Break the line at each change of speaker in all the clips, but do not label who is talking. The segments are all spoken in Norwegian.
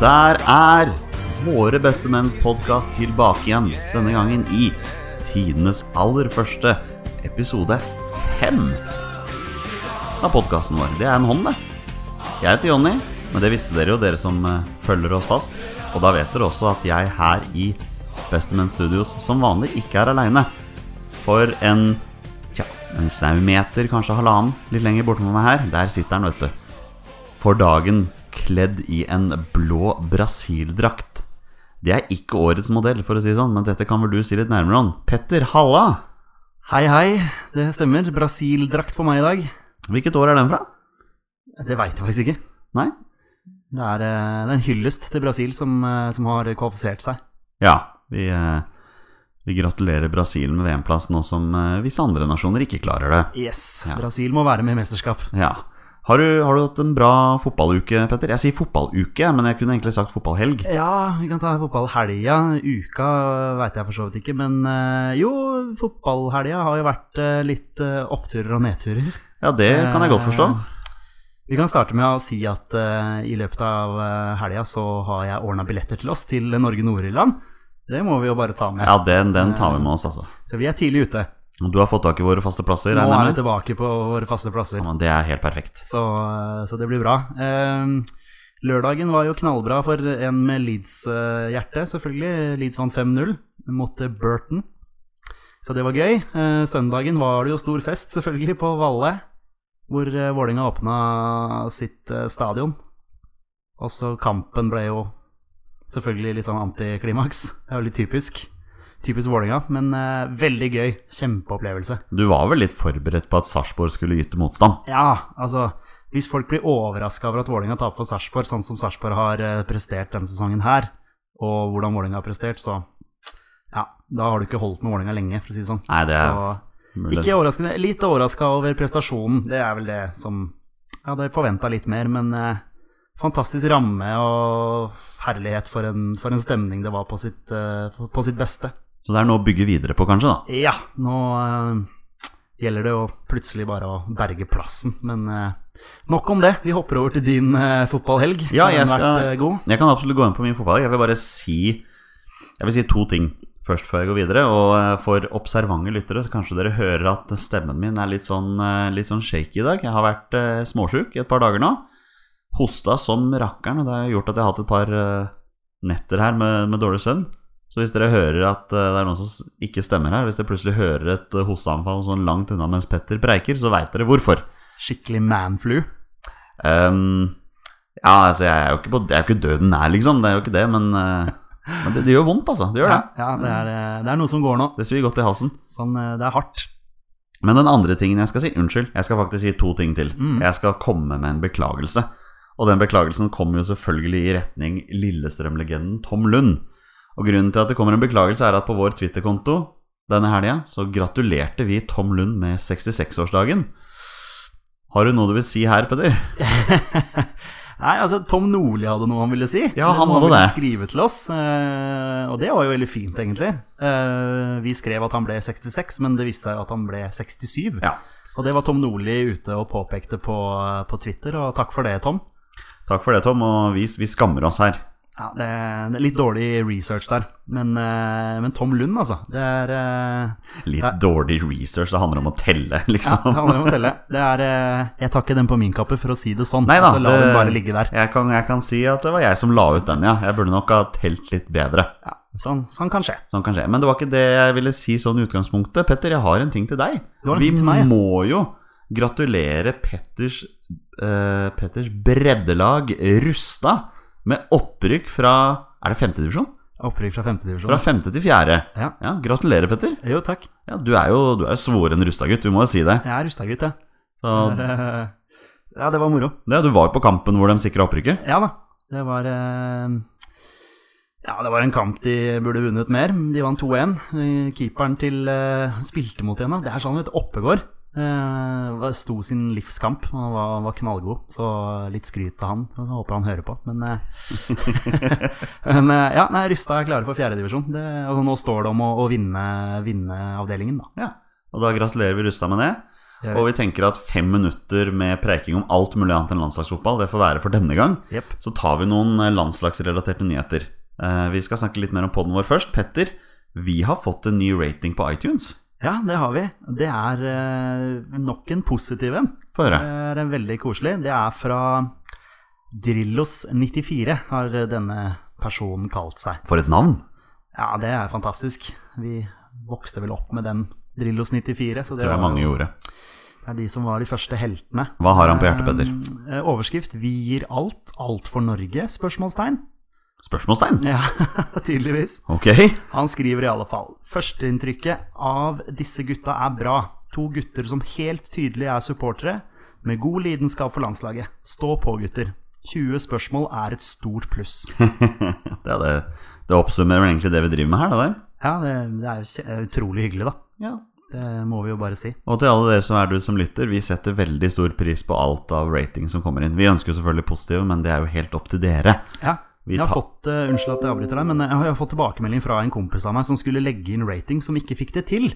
Der er Våre beste menns podkast tilbake igjen. Denne gangen i tidenes aller første episode fem av podkasten vår. Det er en hånd, det. Jeg heter Jonny, men det visste dere jo, dere som eh, følger oss fast. Og da vet dere også at jeg her i Bestemenn Studios som vanlig ikke er aleine. For en tja, en snau meter, kanskje halvannen, litt lenger bortenfor meg her, der sitter han, vet du. For dagen kledd i en blå brasildrakt. Det er ikke årets modell, for å si det sånn, men dette kan vel du si litt nærmere om. Petter, halla!
Hei, hei. Det stemmer. Brasil-drakt på meg i dag.
Hvilket år er den fra?
Det veit jeg faktisk ikke.
Nei?
Det er, eh, det er en hyllest til Brasil som, eh, som har kvalifisert seg.
Ja, vi, eh, vi gratulerer Brasil med VM-plass nå som eh, visse andre nasjoner ikke klarer det.
Yes.
Ja.
Brasil må være med i mesterskap.
Ja. Har du, har du hatt en bra fotballuke, Petter? Jeg sier fotballuke, men jeg kunne egentlig sagt fotballhelg.
Ja, vi kan ta fotballhelga. Uka veit jeg for så vidt ikke, men eh, jo, fotballhelga har jo vært eh, litt eh, oppturer og nedturer.
Ja, det kan jeg godt forstå.
Vi kan starte med å si at eh, i løpet av uh, helga så har jeg ordna billetter til oss til Norge Nord-Irland. Det må vi jo bare ta med.
Ja, den, den tar vi med oss, altså.
Så vi er tidlig ute.
Og Du har fått tak i våre faste plasser,
Nå
regner
er vi
jeg med?
tilbake på våre faste plasser.
Ja, men det er helt perfekt.
Så, eh, så det blir bra. Ehm, Lørdagen var jo knallbra for en med Leeds-hjerte, selvfølgelig. Leeds vant 5-0 mot Burton, så det var gøy. Eh, Søndagen var det jo stor fest, selvfølgelig, på Valle, hvor eh, Vålinga åpna sitt eh, stadion. Og så kampen ble jo selvfølgelig litt sånn antiklimaks. Det er jo litt typisk. Typisk Vålinga, men eh, veldig gøy. Kjempeopplevelse.
Du var vel litt forberedt på at Sarpsborg skulle yte motstand?
Ja, altså Hvis folk blir overraska over at Vålerenga taper for Sarpsborg, sånn som Sarpsborg har eh, prestert denne sesongen her, og hvordan Vålerenga har prestert, så Ja, da har du ikke holdt med Vålerenga lenge, for å si det sånn.
Nei, det er
Så
mulig.
ikke overraskende. Litt overraska over prestasjonen. Det er vel det som Jeg hadde forventa litt mer, men eh, fantastisk ramme og herlighet for en, for en stemning det var på sitt, eh, på sitt beste.
Så det er noe å bygge videre på, kanskje, da.
Ja, nå eh, gjelder det jo plutselig bare å berge plassen. Men eh, nok om det. Vi hopper over til din eh, fotballhelg.
Ja,
Har den
jeg skal-
vært eh, god?
Jeg kan absolutt gå inn på min fotball. Jeg vil bare si Jeg vil si to ting først før jeg går videre. Og eh, for observante lyttere, så kanskje dere hører at stemmen min er litt sånn, eh, litt sånn shaky i dag. Jeg har vært eh, småsjuk i et par dager nå. Hosta som rakkeren, og det har gjort at jeg har hatt et par eh, netter her med, med dårlig søvn. Så hvis dere hører at eh, det er noen som s- ikke stemmer her, hvis dere plutselig hører et eh, hosteanfall sånn langt unna mens Petter preiker, så veit dere hvorfor.
Skikkelig manflu.
Ehm, ja, altså, jeg er jo ikke, på, jeg er jo ikke døden nær, liksom. Det er jo ikke det, men, eh, men det, det gjør vondt, altså. Det gjør
Ja,
det.
ja det, er, eh, det er noe som går nå.
Det svir godt i halsen.
Sånn, eh, det er hardt.
Men den andre tingen jeg skal si Unnskyld, jeg skal faktisk si to ting til.
Mm.
Jeg skal komme med en beklagelse. Og den beklagelsen kommer jo selvfølgelig i retning Lillestrøm-legenden Tom Lund. Og grunnen til at det kommer en beklagelse, er at på vår Twitter-konto denne helga så gratulerte vi Tom Lund med 66-årsdagen. Har du noe du vil si her, Peder?
Nei, altså Tom Nordli hadde noe han ville si.
Ja, han
noe
hadde
ville
det.
skrive til oss, eh, og det var jo veldig fint, egentlig. Eh, vi skrev at han ble 66, men det viste seg at han ble 67.
Ja.
Og det var Tom Nordli ute og påpekte på, eh, på Twitter, og takk for det, Tom.
Takk for det, Tom, og vi, vi skammer oss her.
Ja, det, det er litt dårlig research der, men, eh, men Tom Lund, altså. Det er eh,
Litt
Ja.
dårlig research, det handler om å telle,
Ja, det
liksom.
handler om å telle. Det er eh, Jeg tar ikke den på min kappe, for å si det sånn.
Nei da,
så la
det-
den bare ligge der.
Jeg, kan, jeg kan si at det var jeg som la ut den, ja. Jeg burde nok ha telt litt bedre.
Ja, sånn, sånn kan skje.
Sånn kan skje. Men det var ikke det jeg ville si sånn i utgangspunktet. Petter, jeg har en ting til deg.
Du har en
Vi
ting til meg, ja.
må jo gratulere Petters, eh, Petters breddelag Rusta med opprykk fra Er det femte divisjon?
Opprykk fra
Fra
femtedivisjon.
femte til fjerde.
Ja.
Ja, gratulerer, Petter.
Jo, takk.
Ja, du er jo du er jo svoren Rusta-gutt, vi må jo si det.
Jeg er rustagutt, jeg.
Så,
Det er, eh, Ja, det var moro.
ja, du var jo på kampen hvor de sikra opprykket.
Ja da. Det var eh, Ja, det var en kamp de burde vunnet mer. De vant 2-1. Eh, Keeperen til eh, spilte mot igjen, da. Det er sånn, vet du. Oppegård. eh, var- sto sin livskamp. Han var, var knallgod, så litt skryt til han. Jeg håper han hører på, men eh, Men eh, ja, nei, Rysta er klare for fjerdedivisjon. Altså, nå står det om å, å vinne, vinne avdelingen, da.
Ja, og da gratulerer vi Rustad med det.
Ja.
Og vi tenker at fem minutter med preking om alt mulig annet enn landslagsfotball, det får være for denne gang.
Jepp.
Så tar vi noen eh, landslagsrelaterte nyheter. Eh, Vi skal snakke litt mer om podden vår først. Petter, vi har fått en ny rating på iTunes.
Ja, det har vi. Det er eh, nok en positiv en.
Få høre.
Eh, Det er en veldig koselig. Det er fra Drillos94, har denne personen kalt seg.
For et navn!
Ja, det er fantastisk. Vi vokste vel opp med den Drillos94. Så det,
Tror jeg
var-
mange gjorde.
det er de som var de første heltene.
Hva har han på hjertet, Petter?
Eh, eh, Overskrift 'Vi gir alt, alt for Norge?' spørsmålstegn.
Spørsmålstegn?
Ja, tydeligvis.
Ok.
Han skriver i alle fall Førsteinntrykket av disse gutta er bra. To gutter som helt tydelig er supportere, med god lidenskap for landslaget. Stå på, gutter. 20 spørsmål er et stort pluss.
Det, er det, det oppsummerer vel egentlig det vi driver med her, det der.
Ja, det, det er kje- utrolig hyggelig, da.
Ja.
Det må vi jo bare si.
Og til alle dere som er du som lytter, vi setter veldig stor pris på alt av rating som kommer inn. Vi ønsker jo selvfølgelig positive, men det er jo helt opp til dere.
Ja.
Vi
jeg har
tar-
fått, eh, Unnskyld at jeg avbryter deg, men jeg har, jeg har fått tilbakemelding fra en kompis av meg som skulle legge inn rating, som ikke fikk det til.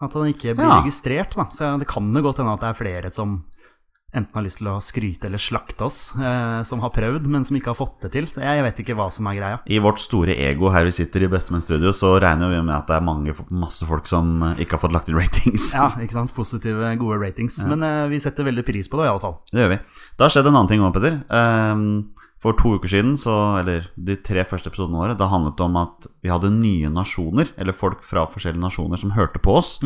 At han ikke blir
Ja.
registrert. da. Så det kan jo godt hende at det er flere som enten har lyst til å skryte eller slakte oss, eh, som har prøvd, men som ikke har fått det til. Så jeg vet ikke hva som er greia.
I vårt store ego her vi sitter i Bestemenn Studio, så regner vi med at det er mange, masse folk som eh, ikke har fått lagt inn ratings.
Ja, ikke sant? Positive, gode ratings. Men eh, vi setter veldig pris på det, i alle fall.
Det gjør vi. Det har skjedd en annen ting òg, Petter. Ehm, For to uker siden, så, eller de tre første episodene våre, det handlet om at vi hadde nye nasjoner, eller folk fra forskjellige nasjoner som hørte på oss.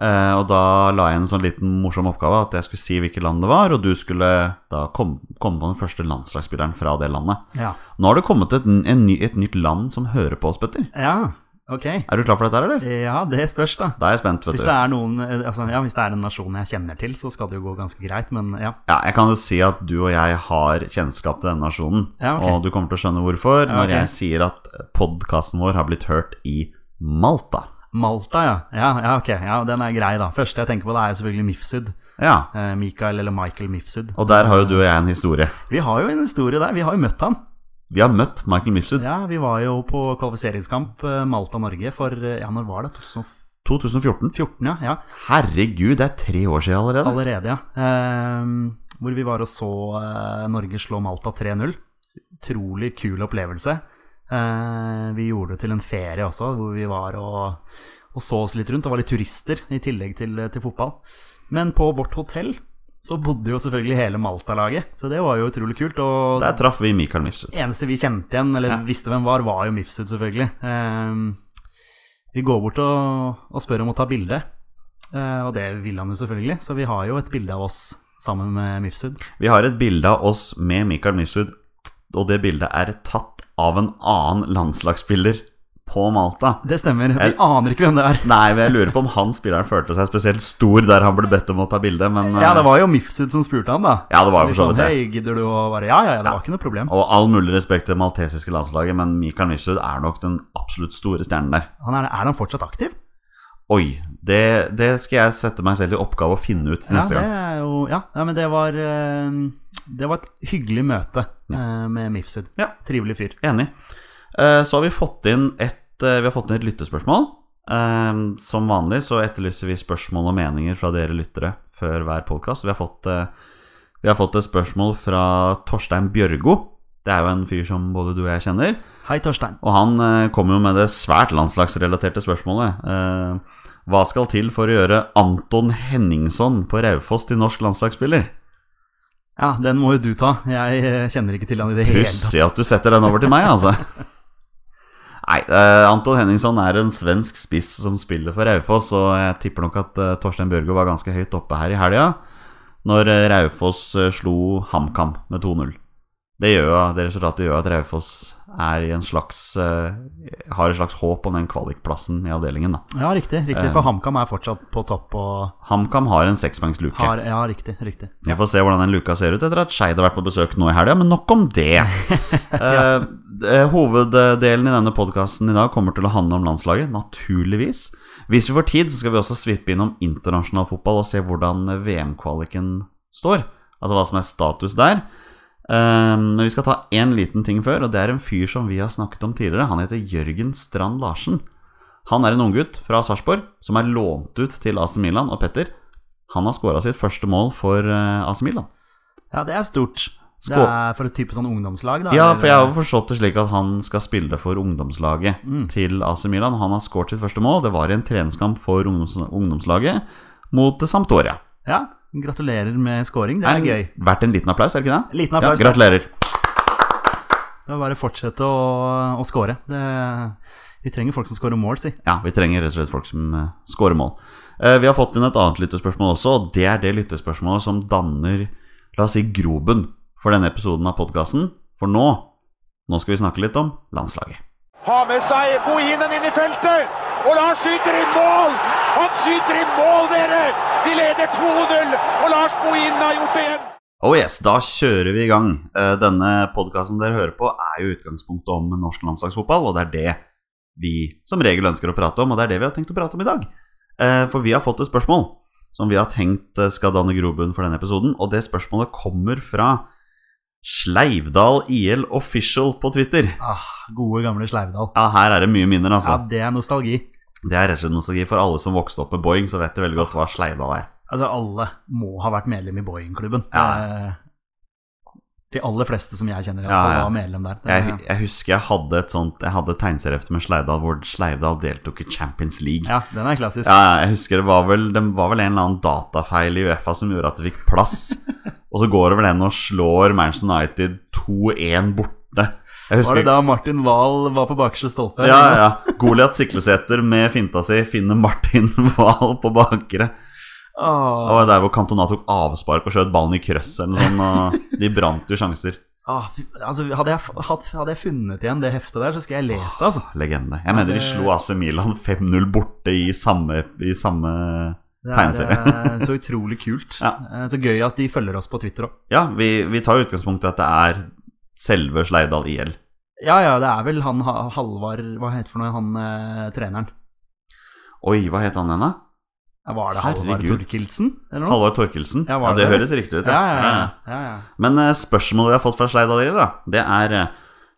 Eh, og da la jeg inn en sånn liten morsom oppgave, at jeg skulle si hvilket land det var, og du skulle da kom- komme på den første landslagsspilleren fra det landet.
Ja.
Nå har det kommet et, n- en ny, et nytt land som hører på oss, Petter.
ja, ok.
Er du klar for dette, her, eller?
Ja, det spørs, da.
Da er jeg spent, vet
Hvis
du.
det er, noen, eh, altså, ja, hvis det er en nasjon jeg kjenner til, så skal det jo gå ganske greit, men ja.
Ja, jeg kan jo si at du og jeg har kjennskap til denne nasjonen.
Ja, ok.
Og du kommer til å skjønne hvorfor
Ja,
når
ok.
jeg sier at podkasten vår har blitt hørt i Malta.
Malta, ja. ja. Ja, ok. Ja, Den er grei, da. Første jeg tenker på, det er jo selvfølgelig Mifsud.
Ja,
Eh, Michael eller Michael Mifsud.
og der har jo du og jeg en historie.
Vi har jo en historie der. Vi har jo møtt han.
Vi har møtt Michael Mifsud.
Ja, Vi var jo på kvalifiseringskamp eh, Malta-Norge for eh, Ja, når var det? 2014,
2014.
ja? ja.
Herregud, det er tre år siden allerede.
Allerede, ja. Ehm, hvor vi var og så eh, Norge slå Malta 3-0. Utrolig kul opplevelse. Eh, vi gjorde det til en ferie også, hvor vi var og, og så oss litt rundt og var litt turister i tillegg til, eh, til fotball. Men på vårt hotell så bodde jo selvfølgelig hele Malta-laget, så det var jo utrolig kult. Og
Der traff vi Michael Mifsud.
eneste vi kjente igjen, eller visste hvem var, var jo Mifsud, selvfølgelig. Ehm, vi går bort og, og spør om å ta bilde, Eh, og det vil han jo selvfølgelig. Så vi har jo et bilde av oss sammen med Mifsud.
Vi har et bilde av oss med Michael Mifsud, og det bildet er tatt av en annen landslagsspiller på Malta.
Det stemmer. Vi
Jeg-
aner ikke hvem det er.
Nei, men jeg lurer på om han spilleren følte seg spesielt stor der han ble bedt om å ta bilde, men eh,
Ja, det var jo Mifsud som spurte han, da.
Ja, det var jo for så vidt
Liksom,
det.
Hei, gidder du å være Ja, ja, ja, det var ikke noe problem.
Og all mulig respekt til det maltesiske landslaget, men Mikael Mifsud er nok den absolutt store stjernen der.
Han er, er han fortsatt aktiv?
Oi, det, det skal jeg sette meg selv i oppgave å finne ut til
Ja,
neste
det
gang.
er jo Ja, ja men det var ehm, Det var et hyggelig møte eh, med Mifsud.
Ja.
Trivelig fyr.
Enig. Eh, Så har vi fått inn et, eh, vi har fått inn et lyttespørsmål. Eh, Som vanlig så etterlyser vi spørsmål og meninger fra dere lyttere før hver podkast. Vi, har fått, eh, vi har fått et spørsmål fra Torstein Bjørgo. Det er jo en fyr som både du og jeg kjenner.
Hei, Torstein.
Og han eh, kom jo med det svært landslagsrelaterte spørsmålet. Eh, hva skal til for å gjøre Anton Henningson på Raufoss til norsk landslagsspiller?
Ja, den må jo du ta. Jeg eh, kjenner ikke til han i det hele tatt.
Pussig at du setter den over til meg, altså. Nei, eh, Anton Henningson er en svensk spiss som spiller for Raufoss, og jeg tipper nok at eh, Torstein Bjørgo var ganske høyt oppe her i helga, når eh, Raufoss eh, slo HamKam med 2-0. Det, gjør jo, det resultatet gjør at Raufoss er i en slags, eh, har et slags håp om den kvalikplassen i avdelingen. Da.
Ja, riktig. riktig
Eh.
For HamKam er fortsatt på topp og
HamKam har en sekspoengsluke.
har Ja, riktig. riktig
Vi får se hvordan den luka ser ut etter at Skeid har vært på besøk nå i helga, men nok om det. Eh, eh, hoveddelen i denne podkasten i dag kommer til å handle om landslaget, naturligvis. Hvis vi får tid, så skal vi også svippe innom internasjonal fotball og se hvordan VM-kvaliken står. Altså hva som er status der. Eh, Men vi skal ta én liten ting før, og det er en fyr som vi har snakket om tidligere. Han heter Jørgen Strand Larsen. Han er en unggutt fra Sarpsborg som er lånt ut til AC Milan, og Petter, Han har skåra sitt første mål for eh, AC Milan.
Ja, det er stort. Det
Skå-
er for et type sånn ungdomslag, da.
Ja,
eller-
for jeg har jo forstått det slik at han skal spille for ungdomslaget til AC Milan. Han har skåret sitt første mål. Det var i en treningskamp for ungdoms ungdomslaget mot Sampdoria.
ja. Gratulerer med scoring, det er gøy.
Verdt en liten applaus, er det ikke det?
Liten applaus,
Ja, gratulerer.
Det er bare å fortsette å, å score. Det, vi trenger folk som scorer mål, si.
Ja, vi trenger rett og slett folk som eh, scorer mål. Eh, Vi har fått inn et annet lyttespørsmål også, og det er det lyttespørsmålet som danner, la oss si, groben for denne episoden av podkasten. For nå, nå skal vi snakke litt om landslaget.
Har med seg Bohinen inn i feltet! Og Lars skyter i mål! Han skyter i mål, dere! Vi leder 2-0, og Lars Bohinen har gjort det igjen!
Oh yes, da kjører vi i gang. Eh, Denne podkasten dere hører på, er jo utgangspunktet om norsk landslagsfotball, og det er det vi som regel ønsker å prate om, og det er det vi har tenkt å prate om i dag. Eh, For vi har fått et spørsmål som vi har tenkt eh, skal danne grobunn for denne episoden, og det spørsmålet kommer fra Sleivdal IL Official på Twitter.
Ah, gode, gamle Sleivdal.
Ja, her er det mye minner,
Ja,
altså.
det er nostalgi.
Det er rett og slett nostalgi for alle som vokste opp med Boeing, så vet de veldig godt hva Sleivdal er.
Altså, alle må ha vært medlem i Boeing-klubben.
Ja.
Eh, De aller fleste som jeg kjenner, i hvert
Ja,
fall,
ja.
var medlem der. Det,
Jeg, jeg husker jeg hadde et sånt Jeg hadde et tegneserieefte med Sleivdal hvor Sleivdal deltok i Champions League.
ja, den er klassisk.
Ja, ja, jeg husker det var vel Det var vel en eller annen datafeil i Uefa som gjorde at det fikk plass. og så går det vel en og slår Manchester United 2-1 borte. Jeg
Var
husker
det da Martin Wahl var på bakerste stolpe?
ja, ja, ja. Goliat Siklesæter med finta si finner Martin Wahl på bakre. Det
Åh,
var der hvor Cantona tok avspark og skjøt ballen i krøss eller noe sånt. Og de brant jo sjanser.
ah, fy- altså, hadde, jeg, f- hatt- hadde jeg funnet igjen det heftet der, så skulle jeg lest det. altså.
Legende. Jeg mener de slo AC Milan 5-0 borte i samme, i samme
Det er
Tegneserie.
eh, så utrolig kult.
Ja.
Eh, Så gøy at de følger oss på Twitter òg.
Ja, vi, vi tar jo utgangspunkt i at det er selve Sleivdal IL.
Ja, ja, det er vel han Ha- Halvard Hva heter for noe han eh, treneren?
Oi, hva het han igjen, da?
Ja, Var det Halvard
Herregud.
Torkelsen, eller noe?
Halvor Torkelsen?
Ja,
Ja,
var
det,
det det?
høres riktig ut.
ja, ja, ja, ja, ja.
Men eh, spørsmålet vi har fått fra Sleivdal Lill, da, det er eh,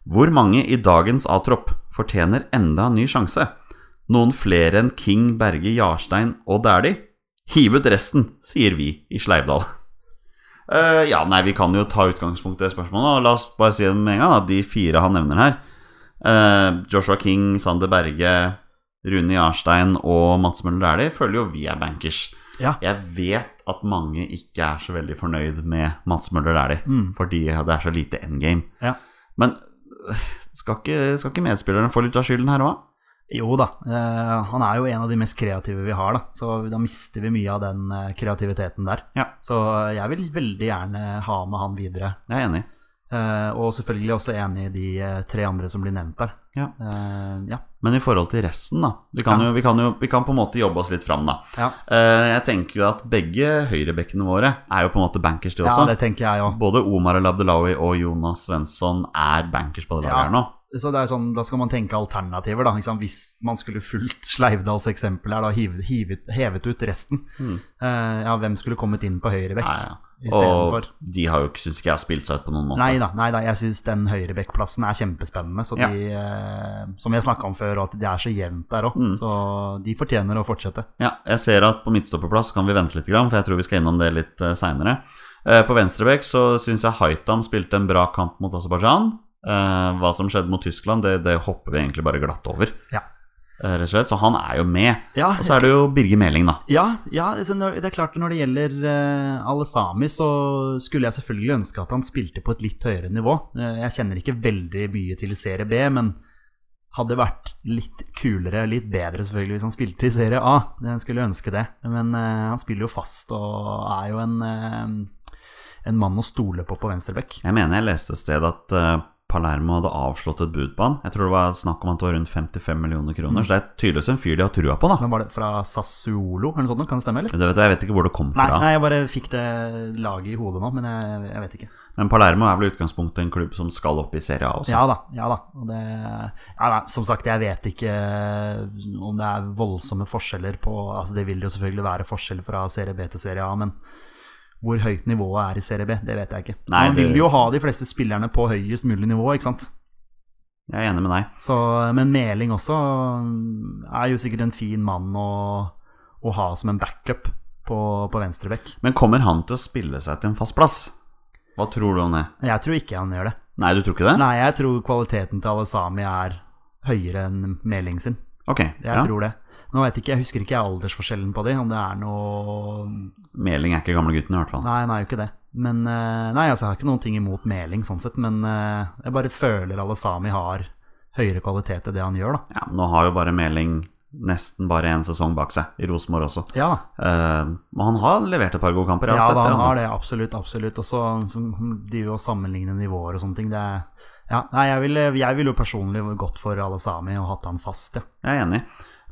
Hvor mange i dagens A-tropp fortjener enda en ny sjanse? Noen flere enn King, Berge, Jarstein og Dæhlie? Hiv ut resten, sier vi i Sleivdal. Eh, ja, nei, vi kan jo ta utgangspunkt i det spørsmålet, og la oss bare si det med en gang, da. De fire han nevner her. eh, Joshua King, Sander Berge, Rune Jarstein og Mats Møller Dæhlie føler jo vi er bankers.
Ja.
Jeg vet at mange ikke er så veldig fornøyd med Mats Møller Dæhlie,
Mm.
fordi det er så lite endgame.
Ja.
Men øh, skal ikke, skal ikke medspillerne få litt av skylden her òg?
Jo da, eh, han er jo en av de mest kreative vi har, da. Så da mister vi mye av den eh, kreativiteten der.
Ja.
Så jeg vil veldig gjerne ha med han videre.
Jeg er enig.
Eh, og selvfølgelig også enig i de eh, tre andre som blir nevnt der.
Ja.
Eh, ja.
Men i forhold til resten, da. Vi kan,
Ja.
jo, vi kan jo vi kan på en måte jobbe oss litt fram, da.
Ja.
Eh, jeg tenker jo at begge høyrebekkene våre er jo på en måte bankers, de
ja,
også.
det tenker jeg òg.
Både Omar Labdelawi og Jonas Svensson er bankers på det laget
Ja.
her nå.
Så det er sånn, da skal man tenke alternativer, da. Ikke sant? Hvis man skulle fulgt Sleivdals eksempel her, da hivet, hivet, hevet ut resten.
Mm.
Eh, ja, hvem skulle kommet inn på høyre bekk
Ja, ja.
istedenfor?
Og de har jo ikke, syns ikke jeg har spilt seg ut på noen måte.
Nei da, nei da, jeg syns den høyrebekkplassen er kjempespennende. Så
Ja.
de, eh, som vi har snakka om før, og at det er så jevnt der òg,
Mm.
så de fortjener å fortsette.
Ja, jeg ser at på midtstopperplass kan vi vente litt, grann, for jeg tror vi skal innom det litt eh, seinere. Eh, På venstrebekk så syns jeg Haitam spilte en bra kamp mot Aserbajdsjan. Eh, Hva som skjedde mot Tyskland, det, det hopper vi egentlig bare glatt over.
Ja.
Eh, Rett og slett, Så han er jo med.
Ja,
Og så er det jo Birger Meling, da.
Ja, ja altså når, det er klart når det gjelder eh, Alle Sami, så skulle jeg selvfølgelig ønske at han spilte på et litt høyere nivå. Eh, jeg kjenner ikke veldig mye til serie B, men hadde vært litt kulere, litt bedre selvfølgelig, hvis han spilte i serie A. Jeg skulle ønske det. Men eh, han spiller jo fast og er jo en, eh, en mann å stole på på venstrebekk.
Jeg mener jeg leste et sted at eh, Palermo hadde avslått et bud på han. Jeg tror det var snakk om at det var rundt 55 millioner
Mm.
kroner, så det er tydeligvis en fyr de har trua på, da.
Men var det fra Sassuolo eller noe sånt? nå? Kan det stemme, eller?
Det vet jeg, jeg vet ikke hvor det kom
Nei,
fra.
nei, jeg bare fikk det laget i hodet nå, men jeg, jeg vet ikke.
Men Palermo er vel i utgangspunktet en klubb som skal opp i Serie A også.
Ja da. ja da, og det, ja da Som sagt, jeg vet ikke eh, om det er voldsomme forskjeller på altså Det vil jo selvfølgelig være forskjell fra serie B til serie A, men hvor høyt nivået er i serie B, det vet jeg ikke.
Nei,
Man
det-
vil jo ha de fleste spillerne på høyest mulig nivå, ikke sant.
Jeg er enig med deg.
Så, men Meling også mm, er jo sikkert en fin mann å, å ha som en backup. på, på venstreback.
Men kommer han til å spille seg til en fast plass? Hva tror du om det?
Men Jeg tror ikke han gjør det.
Nei, du tror ikke det?
Nei, jeg tror kvaliteten til Alesami er høyere enn Meling sin.
Ok,
Jeg
ja.
tror det. Nå vet jeg ikke, jeg husker ikke aldersforskjellen på de, om det er noe
Meling er ikke gamle gutten i hvert fall.
Nei, han er jo ikke det. Men eh, Nei, altså, jeg har ikke noen ting imot Meling, sånn sett, men eh, jeg bare føler Alesami har høyere kvalitet i det han gjør, da.
Ja, nå har jo bare Meling nesten bare én sesong bak seg, i Rosenborg også.
Ja,
Eh, Men han har levert et par gode kamper. Jeg
ja
har sett
da,
det,
han
altså.
har det, absolutt. absolutt. Og så som- de jo å sammenligne nivåer og sånne ting. Det er, ja, nei, jeg ville jeg ville jo personlig gått for Alesami og hatt han fast, ja.
Jeg er enig.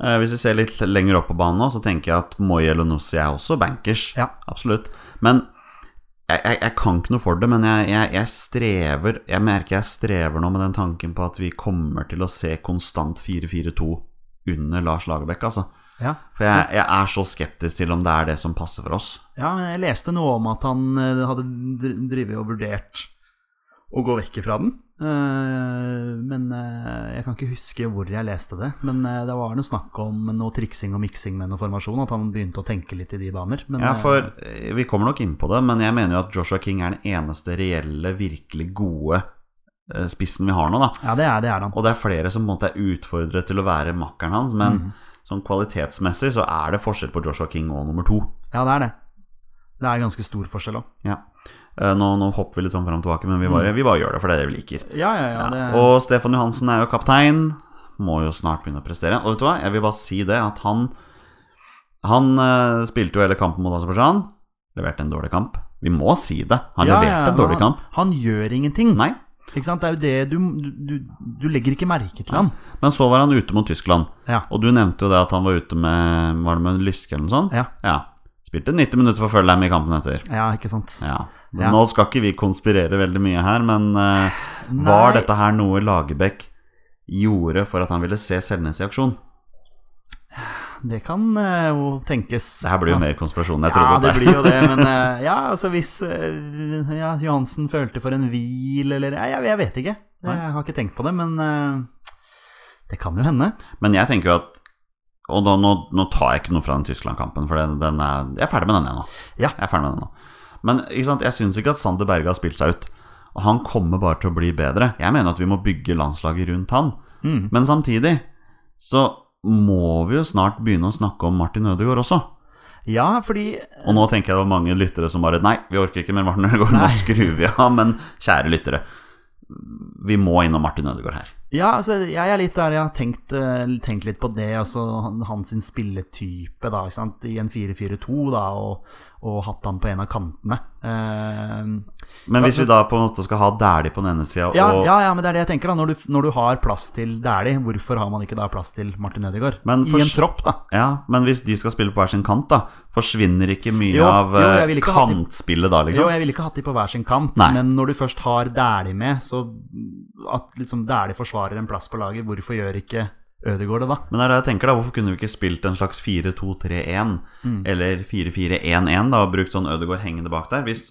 Eh, Hvis vi ser litt lenger opp på banen nå, så tenker jeg at Moye Elonussi er også bankers.
Ja.
Absolutt. Men jeg, jeg, jeg kan ikke noe for det, men jeg, jeg, jeg strever Jeg merker jeg strever nå med den tanken på at vi kommer til å se konstant 4-4-2 under Lars Lagerbäck, altså.
ja.
For jeg, jeg er så skeptisk til om det er det som passer for oss.
Ja, men jeg leste noe om at han eh, hadde dr- drevet og vurdert å gå vekk ifra den. Eh, Men eh, jeg kan ikke huske hvor jeg leste det. Men eh, det var noe snakk om noe triksing og miksing med noe formasjon. At han begynte å tenke litt i de baner. Men,
Ja,
eh,
for eh, Vi kommer nok inn på det, men jeg mener jo at Joshua King er den eneste reelle, virkelig gode eh, spissen vi har nå. da
ja, det er, det er han.
Og det er flere som på en måte er utfordret til å være makkeren hans, men
Mhm.
sånn kvalitetsmessig så er det forskjell på Joshua King og nummer to.
Ja, det er det. Det er ganske stor forskjell òg.
Ja. Eh, Nå, nå hopper vi litt sånn fram og tilbake, men vi bare, vi bare gjør det, for det er det vi liker.
Ja, ja, Mhm. ja. Det,
Og Stefan Johansen er jo kaptein, må jo snart begynne å prestere. Og vet du hva, jeg vil bare si det, at han Han eh, spilte jo hele kampen mot Aserbajdsjan, leverte en dårlig kamp. Vi må si det, han
ja,
leverte
ja,
en dårlig
men han,
kamp.
han gjør ingenting.
Nei,
Ikke sant? Det er jo det du, du, du legger ikke merke til han.
men så var han ute mot Tyskland.
Ja.
Og du nevnte jo det at han var ute med Var det med en lyske eller noe sånt?
Ja.
Spilte 90 minutter for Følheim i kampen etter.
ja, ikke sant.
Ja.
Ja.
Nå skal ikke vi konspirere veldig mye her, men eh,
Nei.
var dette her noe Lagerbäck gjorde for at han ville se Selnes i aksjon?
Det kan eh, jo tenkes.
Det her blir jo mer konspirasjon enn jeg
ja,
trodde.
det
at
blir jo det, men eh, ja, altså hvis eh, ja, Johansen følte for en hvil, eller ja, jeg, jeg vet ikke.
Nei.
Jeg har ikke tenkt på det, men eh, det kan jo hende.
Men jeg tenker jo at Og da, nå, nå tar jeg ikke noe fra den Tyskland-kampen, for den, den er, jeg er ferdig med den, jeg nå.
Ja.
Jeg er ferdig med den nå. Men ikke sant, jeg syns ikke at Sander Berge har spilt seg ut. Og han kommer bare til å bli bedre. Jeg mener at vi må bygge landslaget rundt han.
Mm.
Men samtidig så må vi jo snart begynne å snakke om Martin Ødegaard også.
Ja, fordi
Og nå tenker jeg det var mange lyttere som bare Nei, vi orker ikke mer Martin Ødegaard, nå skrur vi av. Men kjære lyttere, vi må innom Martin Ødegaard her.
Ja, altså, jeg er litt der jeg har tenkt, eh, tenkt litt på det, altså han- hans sin spilletype, da, ikke sant, i en 4-4-2, da, og, og hatt han på en av kantene. Eh,
Men hvis vi da på en måte skal ha Dæhlie på den ene sida
ja,
og
ja, ja, men det er det jeg tenker, da. Når du, når du har plass til Dæhlie, hvorfor har man ikke da plass til Martin Ødegaard?
Men
I en
først-
tropp, da.
Ja, men hvis de skal spille på hver sin kant, da, forsvinner ikke mye
Jo,
av
jo, jeg
eh,
vil ikke ha de-
kantspillet da,
Jo,
liksom?
jeg ville ikke hatt de på hver sin kant,
Nei.
men når du først har Dæhlie med, så at liksom Dæhlie forsvarer en plass på laget, hvorfor gjør ikke Ødegaard det, da?
Men det er det jeg tenker, da. Hvorfor kunne vi ikke spilt en slags 4-2-3-1,
Mm.
eller 4-4-1-1, da, og brukt sånn Ødegaard hengende bak der? Hvis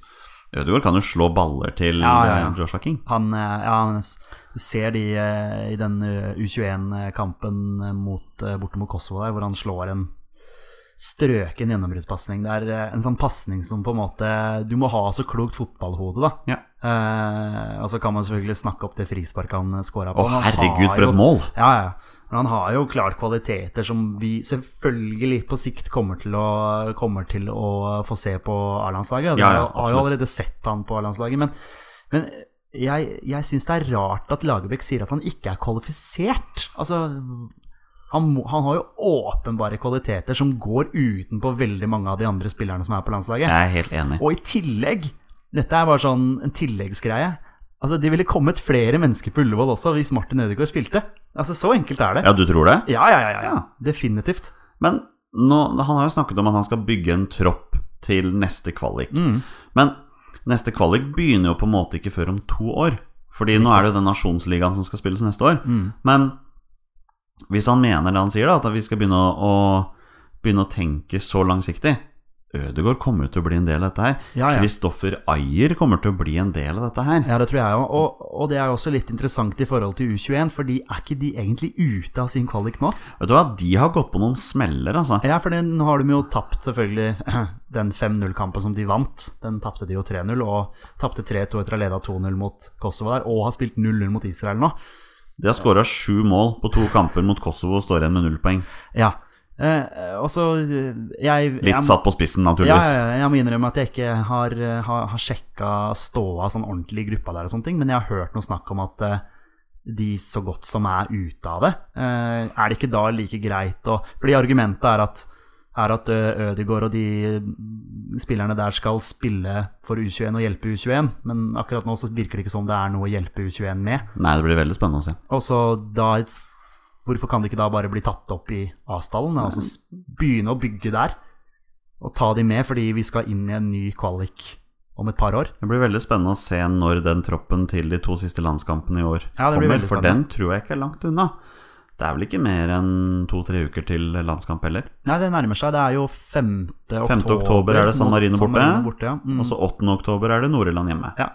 Ødegaard kan jo slå baller til
Ja, ja, ja.
eh, Joshua King.
Han, eh, ja, men jeg s- ser de eh, i den eh, U21-kampen eh, mot, eh, borte mot Kosovo der, hvor han slår en strøken gjennombruddspasning. Det er eh, en sånn pasning som på en måte Du må ha så klokt fotballhode, da.
Ja.
Eh, og så kan man selvfølgelig snakke opp det frisparket han skåra på.
Å,
men han har
herregud, for
jo-
et mål!
Ja, ja. Men han har jo klart kvaliteter som vi selvfølgelig på sikt kommer til å, kommer til å få se på A-landslaget. Vi
Ja, ja,
har jo- har jo
absolutt.
allerede sett han på A-landslaget. Men, men jeg, jeg syns det er rart at Lagerbäck sier at han ikke er kvalifisert. Altså han, må, han har jo åpenbare kvaliteter som går utenpå veldig mange av de andre spillerne som er på landslaget.
Jeg er helt enig.
Og i tillegg Dette er bare sånn en tilleggsgreie. Altså, Det ville kommet flere mennesker på Ullevål også hvis Martin Ødegaard spilte. Altså, Så enkelt er det.
Ja, du tror det?
Ja, ja, ja. ja,
Ja.
Definitivt.
Men nå, han har jo snakket om at han skal bygge en tropp til neste kvalik.
Mm.
Men neste kvalik begynner jo på en måte ikke før om to år. Fordi nå er det jo den nasjonsligaen som skal spilles neste år.
mm.
Men hvis han mener det han sier, da, at vi skal begynne å, å, begynne å tenke så langsiktig, Ødegaard kommer jo til å bli en del av dette her.
Ja, ja.
Kristoffer Ayer kommer til å bli en del av dette her.
Ja, det tror jeg òg. Og, og det er jo også litt interessant i forhold til U21, for de er ikke de egentlig ute av sin kvalik nå?
Vet du hva, de har gått på noen smeller, altså.
Ja, for den har de jo tapt, selvfølgelig. Den 5-0-kampen som de vant, den tapte de jo 3-0, og tapte 3-2 etter å ha leda 2-0 mot Kosovo der, og har spilt 0-0 mot Israel nå.
De har skåra sju mål på to kamper mot Kosovo og står igjen med null poeng.
Ja. Eh, og så eh, jeg,
Litt
jeg,
satt på spissen,
ja,
naturligvis.
ja, jeg må innrømme at jeg ikke har, eh, har, har sjekka ståa sånn ordentlig i gruppa der og sånne ting, men jeg har hørt noe snakk om at eh, de så godt som er ute av det. Eh, er det ikke da like greit å Fordi argumentet er at, er at eh, Ødegaard og de mm, spillerne der skal spille for U21 og hjelpe U21, men akkurat nå så virker det ikke som det er noe å hjelpe U21 med.
Nei, det blir veldig spennende å se.
Og så da Hvorfor kan det ikke da bare bli tatt opp i avstallen? da? Altså s- begynne å bygge der, og ta de med, fordi vi skal inn i en ny kvalik om et par år.
Det blir veldig spennende å se når den troppen til de to siste landskampene i år
Ja, det blir veldig
for den
spennende.
tror jeg ikke er langt unna. Det er vel ikke mer enn to-tre uker til landskamp heller.
Nei, det nærmer seg. Det er jo 5. oktober.
5. oktober er det San
mot
Marino borte.
ja. Mm.
Og så 8. oktober er det Nord-Irland hjemme.
Ja.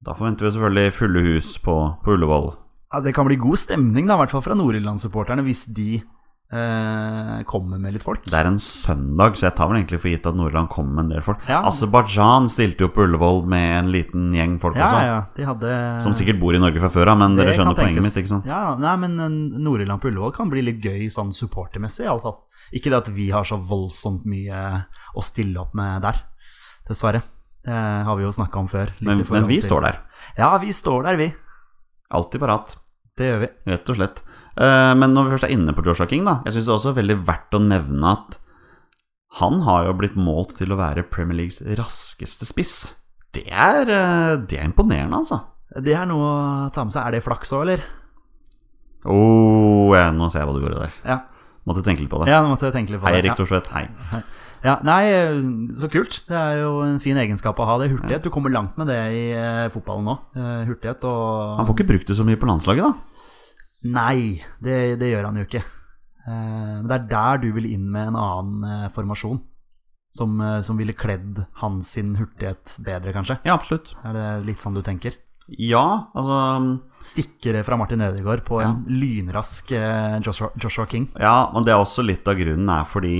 Da forventer vi selvfølgelig fulle hus på, på Ullevål.
Altså, det kan bli god stemning, da, i hvert fall fra Nord-Irland-supporterne, hvis de eh, kommer med litt folk.
Det er en søndag, så jeg tar vel egentlig for gitt at Nordland kom med en del folk.
Ja.
Aserbajdsjan stilte jo på Ullevål med en liten gjeng folk
ja,
også,
ja, de hadde
som sikkert bor i Norge fra før av, men
Det
dere skjønner
kan
poenget
tenkes.
mitt, ikke sant?
Ja, ja. nei, men eh, Nord-Irland på Ullevål kan bli litt gøy sånn supportermessig, iallfall. Ikke det at vi har så voldsomt mye eh, å stille opp med der, dessverre. Det har vi jo snakka om før.
Men, men vi står der.
Ja, vi står der, vi.
Alltid parat.
Det gjør vi.
Rett og slett. Eh, Men når vi først er inne på Joshua King, da Jeg syns det er også veldig verdt å nevne at han har jo blitt målt til å være Premier Leagues raskeste spiss. Det er, eh, det er imponerende, altså.
Det er noe å ta med seg. Er det flaks òg, eller?
Å, oh, ja, nå ser jeg hva du gjorde der.
Ja.
Måtte tenke litt på det.
ja, nå måtte jeg tenke litt på
Hei,
det.
Erik Thorsvedt. Hei.
Ja, nei, eh, så kult. Det er jo en fin egenskap å ha det. Hurtighet. Du kommer langt med det i eh, fotballen nå. Eh, hurtighet og
Han får ikke brukt det så mye på landslaget, da.
Nei, det, det gjør han jo ikke. Eh, Men det er der du vil inn med en annen eh, formasjon. Som, eh, som ville kledd hans sin hurtighet bedre, kanskje.
Ja, absolutt.
Er det litt sånn du tenker?
Ja, altså
Stikkere fra Martin Ødegaard på en lynrask eh, Joshua, Joshua King.
Ja, men det er også litt av grunnen er fordi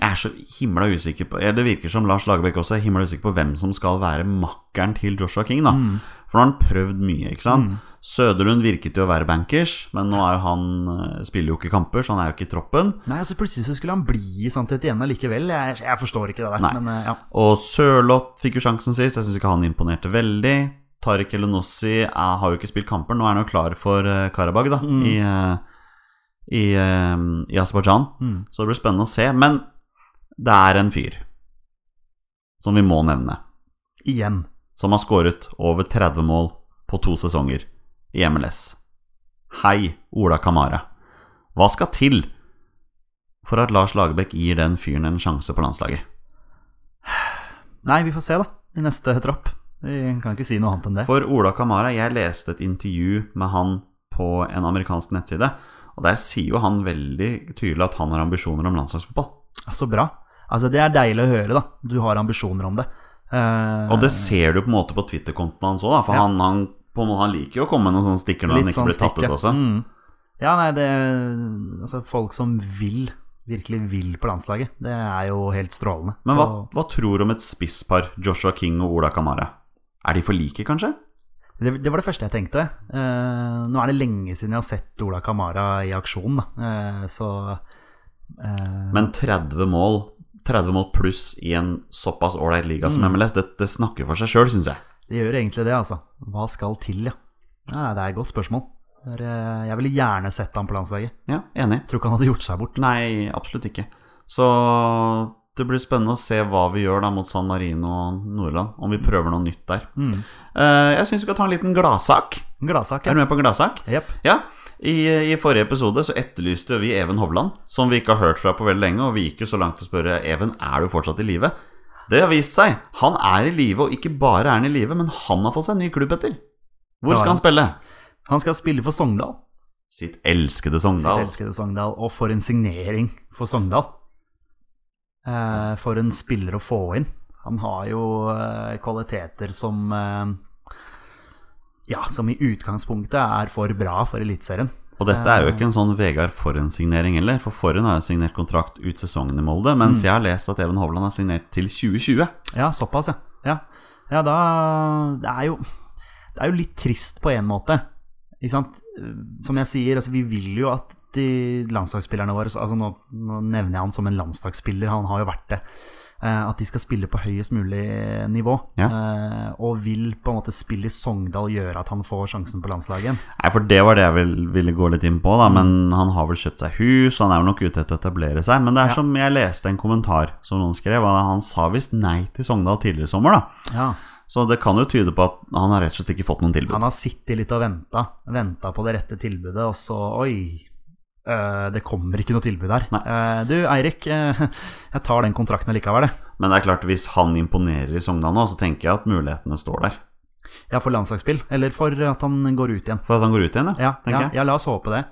jeg er så himla usikker på ja, Det virker som Lars Lagerbäck også er himla usikker på hvem som skal være makkeren til Joshua King, da.
Mm.
For nå har han prøvd mye, ikke sant. Søderlund virket jo å være bankers, men nå er jo han eh, spiller jo ikke kamper, så han er jo ikke i troppen.
Nei, altså Plutselig så skulle han bli i Santet igjen allikevel. Jeg, jeg forstår ikke det der.
Nei.
Men eh, ja.
Og Sørloth fikk jo sjansen sist, jeg syns ikke han imponerte veldig. Tariq Elenossi har jo ikke spilt kamper, nå er han jo klar for eh, Karabag, da, i, eh, i, eh, i Aserbajdsjan.
Mm.
Så det blir spennende å se. Men det er en fyr som vi må nevne,
Igjen.
som har skåret over 30 mål på to sesonger i MLS. Hei, Ola Kamara. Hva skal til for at Lars Lagerbäck gir den fyren en sjanse på landslaget?
Nei, vi får se, da. I neste tropp. Vi kan ikke si noe annet enn det.
For Ola Kamara, jeg leste et intervju med han på en amerikansk nettside, og der sier jo han veldig tydelig at han har ambisjoner om landslagsfotball.
Så bra. Altså, det er deilig å høre, da. Du har ambisjoner om det. Eh,
Og det ser du på en måte på Twitter-konten hans òg, for
Ja.
han, han, på en måte, han liker jo å komme med noen sånne stikker når han
litt
ikke
sånn
blir tatt
stikk,
ut
ja.
også.
Mm. Ja, nei, det Altså, folk som vil, virkelig vil på landslaget, det er jo helt strålende.
Men hva,
Så
hva tror du om et spisspar, Joshua King og Ola Kamara? Er de for like, kanskje?
det, det var det første jeg tenkte. Eh, nå er det lenge siden jeg har sett Ola Kamara i aksjon, da. Eh, så eh,
Men 30 mål, 30 mål pluss i en såpass ålreit liga som
Mm.
MLS, det, det snakker for seg sjøl, syns jeg.
Det gjør egentlig det, altså. Hva skal til, ja? Nei, det er et godt spørsmål. Det er, eh, Jeg ville gjerne sett ham på landslaget.
Ja, enig.
Tror ikke han hadde gjort seg bort.
Nei, absolutt ikke. Så det blir spennende å se hva vi gjør da mot San Marino og Nordland, om vi prøver noe nytt der.
Mm.
Eh, jeg syns vi skal ta en liten gladsak.
En gladsak,
Er
ja.
du med på en gladsak?
Jepp.
Ja, i, i forrige episode så etterlyste vi Even Hovland, som vi ikke har hørt fra på veldig lenge, og vi gikk jo så langt til å spørre Even, er du fortsatt i live? Det har vist seg. Han er i live, og ikke bare er han i live, men han har fått seg en ny klubb etter. Hvor
Ja,
skal
ja.
han spille?
Han skal spille for Sogndal.
Sitt elskede
Sitt
Sogndal.
elskede Sogndal. Og for en signering for Sogndal. Eh, for en spiller å få inn. Han har jo eh, kvaliteter som eh, Ja, som i utgangspunktet er for bra for Eliteserien.
Og dette er jo ikke
Um.
en sånn Vegard Forhen-signering heller, for Forhen har jo signert kontrakt ut sesongen i Molde,
Mm.
mens jeg har lest at Even Hovland har signert til 2020.
Ja, såpass, ja. Ja, ja da det er, jo, det er jo litt trist på en måte. Ikke sant? Som jeg sier, altså, vi vil jo at de landslagsspillerne våre altså nå, nå nevner jeg han som en landslagsspiller, han har jo vært det. eh, At de skal spille på høyest mulig nivå.
Ja.
eh, Og vil på en måte spille i Sogndal gjøre at han får sjansen på landslaget igjen.
Nei, for det var det jeg vil, ville gå litt inn på, da.
Mm.
Men han har vel kjøpt seg hus, han er jo nok ute etter å etablere seg. Men det er som jeg leste en kommentar som noen skrev, og han sa visst nei til Sogndal tidligere i sommer, da.
Ja.
Så det kan jo tyde på at han har rett og slett ikke fått noen tilbud.
Han har sittet litt og venta. Venta på det rette tilbudet, og så Oi! eh, det kommer ikke noe tilbud her. Eh, du, Eirik. eh, jeg tar den kontrakten likevel, jeg.
Men det er klart, hvis han imponerer i Sogndal nå, så tenker jeg at mulighetene står der.
Ja, for landslagsspill. Eller for at han går ut igjen.
For at han går ut igjen,
Ja,
tenker
ja,
jeg.
ja la oss håpe det.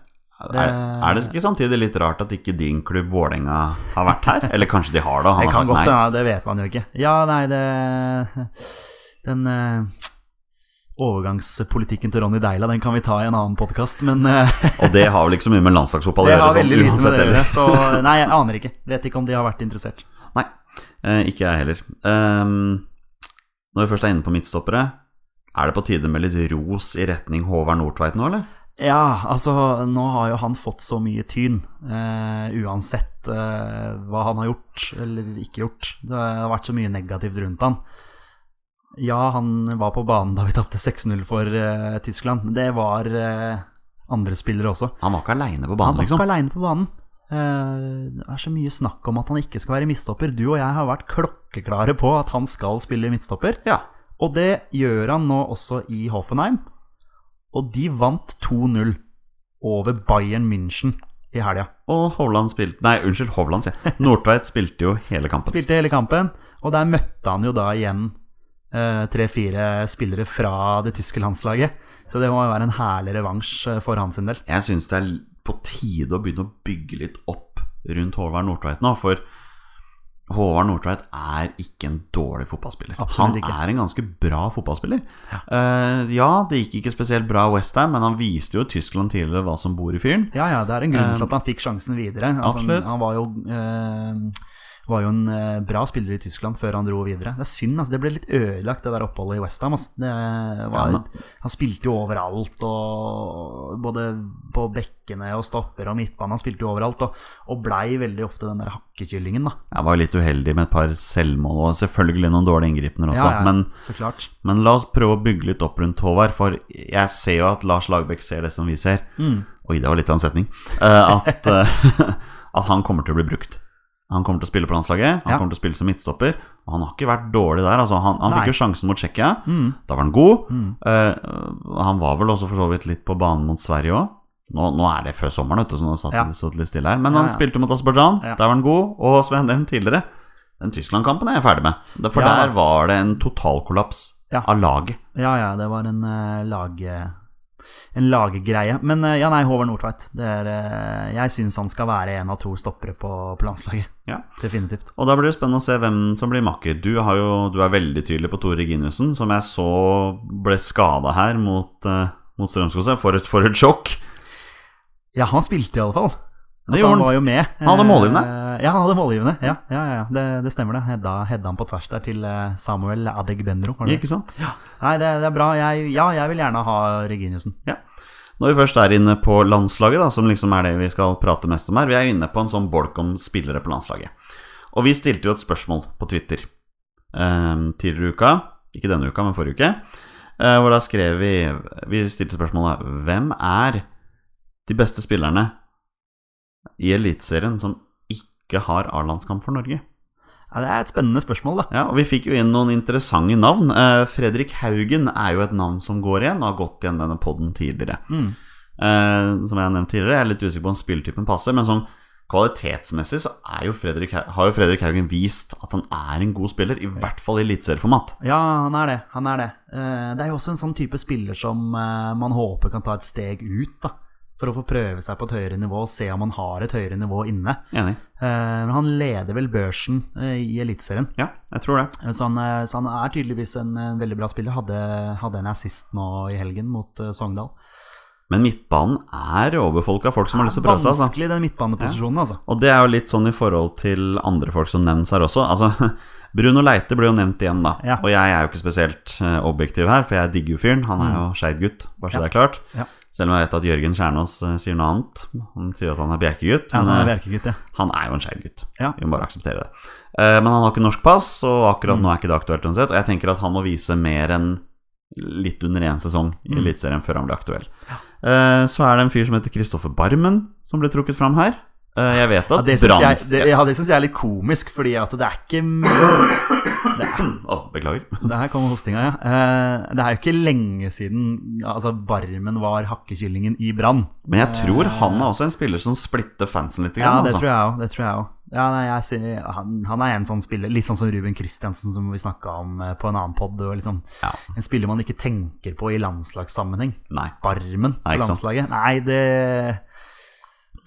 det-
Er, er det ikke samtidig litt rart at ikke din klubb Vålerenga har vært her? Eller kanskje de har det, og han
Det
har
kan
sagt
godt
nei?
hende, det vet man jo ikke. Ja, nei, det Den eh, overgangspolitikken til Ronny Deila, den kan vi ta i en annen podkast, men eh,
Og det har vel ikke så mye med landslagsfotball å
det
gjøre,
har
sånn
veldig lite med
uansett
det å
heller.
gjøre. Så nei, jeg aner ikke. Vet ikke om de har vært interessert.
Nei, eh, ikke jeg heller. Ehm, når vi først er inne på midtstoppere, er det på tide med litt ros i retning Håvard Nordtveit nå, eller?
Ja, altså nå har jo han fått så mye tyn, eh, uansett eh, hva han har gjort eller ikke gjort. Det har vært så mye negativt rundt han. Ja, han var på banen da vi tapte 6-0 for eh, Tyskland. Det var eh, andre spillere også.
Han var ikke aleine på
Han
banen,
var
liksom.
ikke aleine på banen. Eh, det er så mye snakk om at han ikke skal være midtstopper. Du og jeg har vært klokkeklare på at han skal spille midtstopper.
Ja,
Og det gjør han nå også i Hoffenheim. Og de vant 2-0 over Bayern München i helga.
Og Hovland spilte Nei, unnskyld, Hovland, sier jeg. Nordtveit spilte jo hele kampen.
Spilte hele kampen, og der møtte han jo da igjen eh, tre-fire spillere fra det tyske landslaget. Så det må jo være en herlig revansj eh, for han sin del.
Jeg syns det er på tide å begynne å bygge litt opp rundt Håvard Nordtveit nå, for Håvard Nordtveit er ikke en dårlig fotballspiller.
Absolutt
han
ikke.
er en ganske bra fotballspiller. Ja. ja, det gikk ikke spesielt bra i Westham, men han viste jo Tyskland tidligere hva som bor i fyren.
Ja, ja, det er en grunn til at han fikk sjansen videre.
Eh,
Altså,
absolutt.
Han var jo, eh, var jo en eh, bra spiller i Tyskland før han dro videre. Det er synd, altså. Det ble litt ødelagt, det der oppholdet i Westham. Altså. Det var,
Ja,
han spilte jo overalt, og både på bekkene og stopper og midtbane. Han spilte jo overalt, og, og blei veldig ofte den der hakkekyllingen, da.
Jeg var jo litt uheldig med et par selvmål og selvfølgelig noen dårlige inngripener også. Altså, Men,
så klart.
men la oss prøve å bygge litt opp rundt Håvard, for jeg ser jo at Lars Lagerbäck ser det som vi ser.
Mm,
Oi, det var litt av en setning. Eh, at, eh, at han kommer til å bli brukt. Han kommer til å spille på landslaget, han
Ja.
kommer til å spille som midtstopper. Og han har ikke vært dårlig der. Altså, han han
Nei.
fikk jo sjansen mot Tsjekkia,
Mm.
da var han god.
Mm.
Eh, han var vel også for så vidt litt på banen mot Sverige òg. Nå, nå er det før sommeren, vet du, så nå satt
Ja.
det satt litt stille her. Men
Ja,
han
ja.
spilte mot Aserbajdsjan,
Ja.
der var han god. Og som jeg nevnte tidligere, den Tyskland-kampen er jeg ferdig med. Det- For
Ja.
der var det en totalkollaps
Ja.
av laget.
Ja, ja, det var en uh, lag... en laggreie. Men eh, ja, nei, Håvard Nordtveit. Det er, eh, jeg syns han skal være en av to stoppere på, på landslaget.
Ja.
Definitivt.
Og da blir det spennende å se hvem som blir makker. Du, har jo, du er veldig tydelig på Tore Ginussen, som jeg så ble skada her mot, uh, mot Strømskose. For et, for et sjokk!
Ja, han spilte i alle fall. Altså,
Det gjorde han.
han var jo med.
Han hadde målgivende.
Eh, Ja, han hadde målgivende. Ja, ja, ja, ja. Det, det stemmer det. Hedda, hedda han på tvers der til eh, Samuel Adegbenro. var det det?
Ikke sant?
Nei, det, det er bra. Jeg, ja, jeg vil gjerne ha Reginiussen.
Når vi først er inne på landslaget, da, som liksom er det vi skal prate mest om her, vi er inne på en sånn bolk om spillere på landslaget. Og vi stilte jo et spørsmål på Twitter eh, tidligere i uka, ikke denne uka, men forrige uke, eh, hvor da skrev vi Vi stilte spørsmålet Hvem er de beste spillerne i Eliteserien som ikke har A-landskamp for Norge?
Ja, det er et spennende spørsmål, da.
Ja, og Vi fikk jo inn noen interessante navn. Eh, Fredrik Haugen er jo et navn som går igjen, og har gått igjen denne podden tidligere.
Mm.
Eh, som jeg har nevnt tidligere, jeg er litt usikker på om spilltypen passer, men sånn kvalitetsmessig så er jo Fredrik, Hau- har jo Fredrik Haugen vist at han er en god spiller, i hvert fall i eliteserieformat.
Ja, han er det. Han er det. Eh, Det er jo også en sånn type spiller som eh, man håper kan ta et steg ut, da. for å få prøve seg på et høyere nivå og se om han har et høyere nivå inne.
Enig.
Eh, Men han leder vel børsen eh, i Eliteserien.
Ja, jeg tror det.
Eh, Så han, eh, så han er tydeligvis en, en veldig bra spiller. Hadde, hadde en assist nå i helgen mot eh, Sogndal.
Men midtbanen er overfolka folk som har lyst til å prøve seg. altså.
Vanskelig den midtbaneposisjonen, altså.
Og det er jo litt sånn i forhold til andre folk som nevnes her også. Altså, Bruno Leite ble jo nevnt igjen, da.
Ja.
Og jeg er jo ikke spesielt eh, objektiv her, for jeg digger jo fyren. Han er jo skeivgutt, bare så
Mm. Ja.
det er klart.
Ja.
Selv om jeg vet at Jørgen Kjernås eh, sier noe annet. Han sier at han er bjerkegutt,
Ja,
men
han er
eh,
verkegutt, ja.
han er jo en skeivgutt.
Ja.
Vi må bare akseptere det. Eh, Men han har ikke norsk pass, og
Mm.
akkurat nå er ikke det aktuelt uansett. Og jeg tenker at han må vise mer enn litt under én sesong i
Mm.
Eliteserien før han blir aktuell. Eh, Så er det en fyr som heter Kristoffer Barmen, som ble trukket fram her. Eh, Jeg vet
Ja,
at
det syns jeg,
Brann-
det, ja, det synes jeg er litt komisk, fordi at det er ikke Det
Å, beklager.
her kommer hostinga, ja. Eh, Det er jo ikke lenge siden altså, Barmen var hakkekyllingen i Brann.
Men jeg tror han er også en spiller som splitter fansen litt.
Eh. Ja,
Grann,
det
altså.
tror jeg òg. Det tror jeg også. Ja, nei, jeg ser, han, han er en sånn spiller, litt sånn som Ruben Kristiansen, som vi snakka om eh, på en annen pod. Liksom,
Ja.
En spiller man ikke tenker på i landslagssammenheng.
Nei. Nei,
Barmen på
ikke sant.
landslaget. Nei, det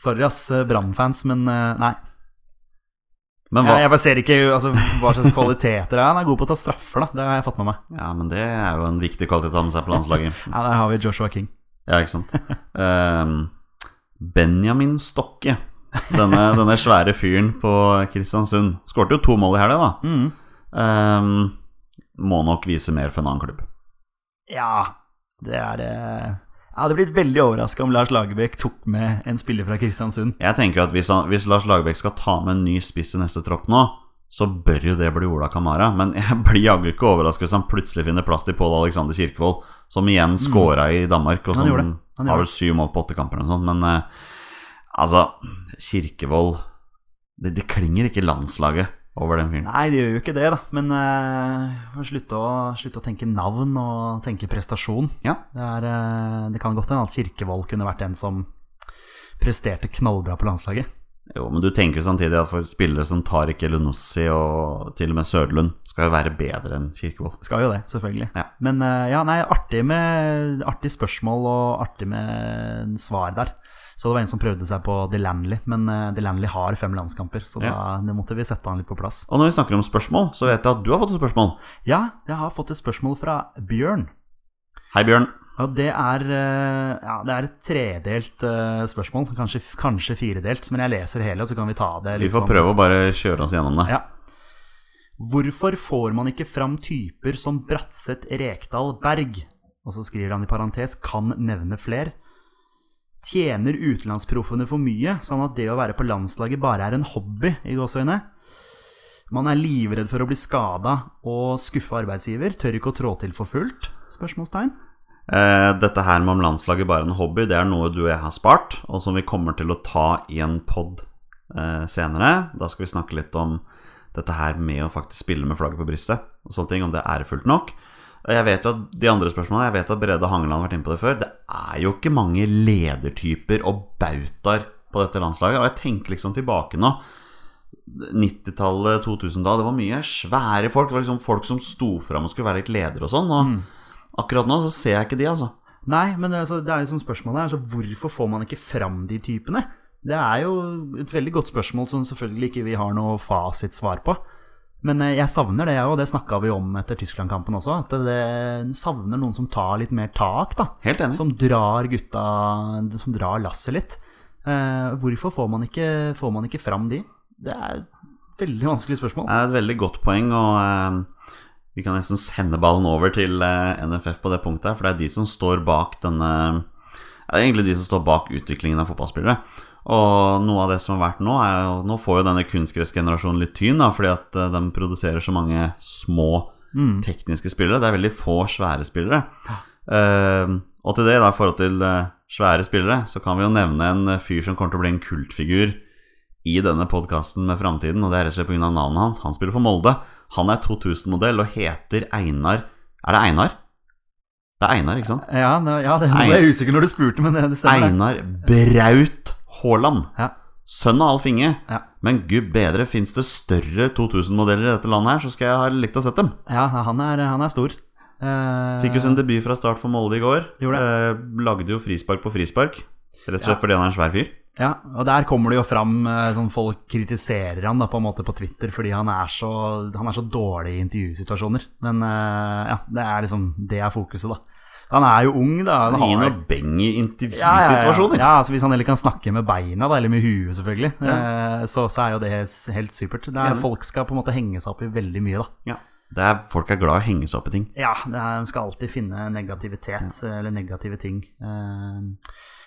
Sorry, ass, Brann-fans, men eh, nei.
Men,
Jeg,
hva,
jeg bare ser ikke altså, hva slags kvaliteter det er. Han er god på å ta straffer, da. Det har jeg fått med meg.
ja, men det er jo en viktig kvalitet å ha med seg på landslaget.
Ja, Der har vi Joshua King.
Ja, ikke sant. Ehm, Benjamin Stokke, denne, denne svære fyren på Kristiansund, skårte jo to mål i helga, da.
Mm.
Ehm, må nok vise mer for en annen klubb.
Ja, det er eh, Jeg hadde blitt veldig overraska om Lars Lagerbäck tok med en spiller fra Kristiansund.
Jeg tenker at hvis, han, hvis Lars Lagerbäck skal ta med en ny spiss i neste tropp nå, så bør jo det bli Ola Kamara. Men jeg blir jaggu ikke overrasket hvis han plutselig finner plass til Pål Alexander Kirkevold, som igjen scora i Danmark, og
Mm. Han
som
gjorde det. Han gjorde
har vel syv mål på åtte kamper eller noe sånt. Men eh, altså, Kirkevold det, det klinger ikke landslaget over den fyren.
Nei, det gjør jo ikke det, da. Men eh, må slutte, å, slutte å tenke navn og tenke prestasjon.
Ja.
Det, er, eh, det kan godt hende at Kirkevold kunne vært en som presterte knallbra på landslaget.
Jo, men du tenker jo samtidig at for spillere som Tariq Elunossi og til og med Søderlund, skal jo være bedre enn Kirkevold.
Skal jo det, selvfølgelig.
Ja.
Men eh, ja, nei, artig med artig spørsmål og artig med svar der. Så det var en som prøvde seg på Delanley, men eh, Delanley har fem landskamper, så da det måtte vi sette han litt på plass.
Og når vi snakker om spørsmål, så vet jeg at du har fått et spørsmål.
Ja, jeg har fått et spørsmål fra Bjørn.
Hei, Bjørn.
Og det er, eh, ja, det er et tredelt eh, spørsmål, kanskje, kanskje firedelt, men jeg leser hele, og så kan vi ta det
Vi
litt
får
sånn.
prøve å bare kjøre oss gjennom det.
Ja. Hvorfor får man ikke fram typer som Bratseth, Rekdal, Berg? Og så skriver han i parentes 'kan nevne fler'. Tjener utenlandsproffene for mye, sånn at det å være på landslaget bare er en hobby i gåseøyne? Man er livredd for å bli skada og skuffe arbeidsgiver. Tør ikke å trå til for fullt? Spørsmålstegn.
Eh, dette her med om landslaget bare er en hobby, det er noe du og jeg har spart, og som vi kommer til å ta i en pod eh, senere. Da skal vi snakke litt om dette her med å faktisk spille med flagget på brystet, og sånne ting, om det er ærefullt nok. Og Jeg vet jo at de andre spørsmålene, jeg vet at Brede Hangeland har vært inne på det før, det er jo ikke mange ledertyper og bautaer på dette landslaget, og jeg tenker liksom tilbake nå. 90-tallet, 2000-tallet, det var mye svære folk. Det var liksom folk som sto fram og skulle være litt ledere og sånn. Og akkurat nå så ser jeg ikke de, altså.
Nei, men altså, det er jo som spørsmålet er, så hvorfor får man ikke fram de typene? Det er jo et veldig godt spørsmål som selvfølgelig ikke vi har noe fasitsvar på. Men eh, jeg savner det, jeg òg. Det snakka vi om etter Tyskland-kampen også. At det savner noen som tar litt mer tak, da.
Helt enig.
Som drar gutta Som drar lasset litt. Eh, hvorfor får man, ikke, får man ikke fram de? Det er et veldig vanskelig spørsmål.
Det er et veldig godt poeng, og eh, vi kan nesten sende ballen over til eh, NFF på det punktet her, for det er de som står bak denne ja, Det er egentlig de som står bak utviklingen av fotballspillere. Og noe av det som har vært nå, er jo Nå får jo denne kunstgressgenerasjonen litt tyn, da, fordi at eh, de produserer så mange små
Mm.
tekniske spillere. Det er veldig få svære spillere. Eh, og til det, da, i forhold til eh, svære spillere, så kan vi jo nevne en eh, fyr som kommer til å bli en kultfigur i denne podkasten med framtiden, og det er rett og slett pga. navnet hans. Han spiller for Molde. Han er 2000-modell og heter Einar Er det Einar? Det er Einar, ikke sant?
Ja, det- ja, det, nå ble jeg usikker når du spurte, men det, det stemmer. det.
Einar Braut Haaland.
Ja.
Sønn av Alf Inge.
Ja.
Men gud bedre, fins det større 2000-modeller i dette landet her, så skal jeg ha likt å sett dem.
Ja, han er, han er stor. Eh,
Fikk jo sin debut fra start for Molde i går.
Gjorde
Eh, lagde jo frispark på frispark. Rett og slett fordi han er en svær fyr.
Ja, og der kommer det jo fram eh, sånn folk kritiserer han da på en måte på Twitter fordi han er så, han er så dårlig i intervjusituasjoner. Men eh, ja, det er liksom det er fokuset, da. Han er jo ung, da. Han
Han gir
har-
noe beng i
ja, ja, ja.
intervjusituasjoner.
Ja, altså Hvis han heller kan snakke med beina, da, eller med huet, selvfølgelig, eh, så, så er jo det s- helt supert. Det er,
Enig.
folk skal på en måte henge seg opp i veldig mye, da.
Ja. Det er, folk er glad i å henge seg opp i ting.
Ja, det er, man skal alltid finne negativitet, eller negative ting. Eh,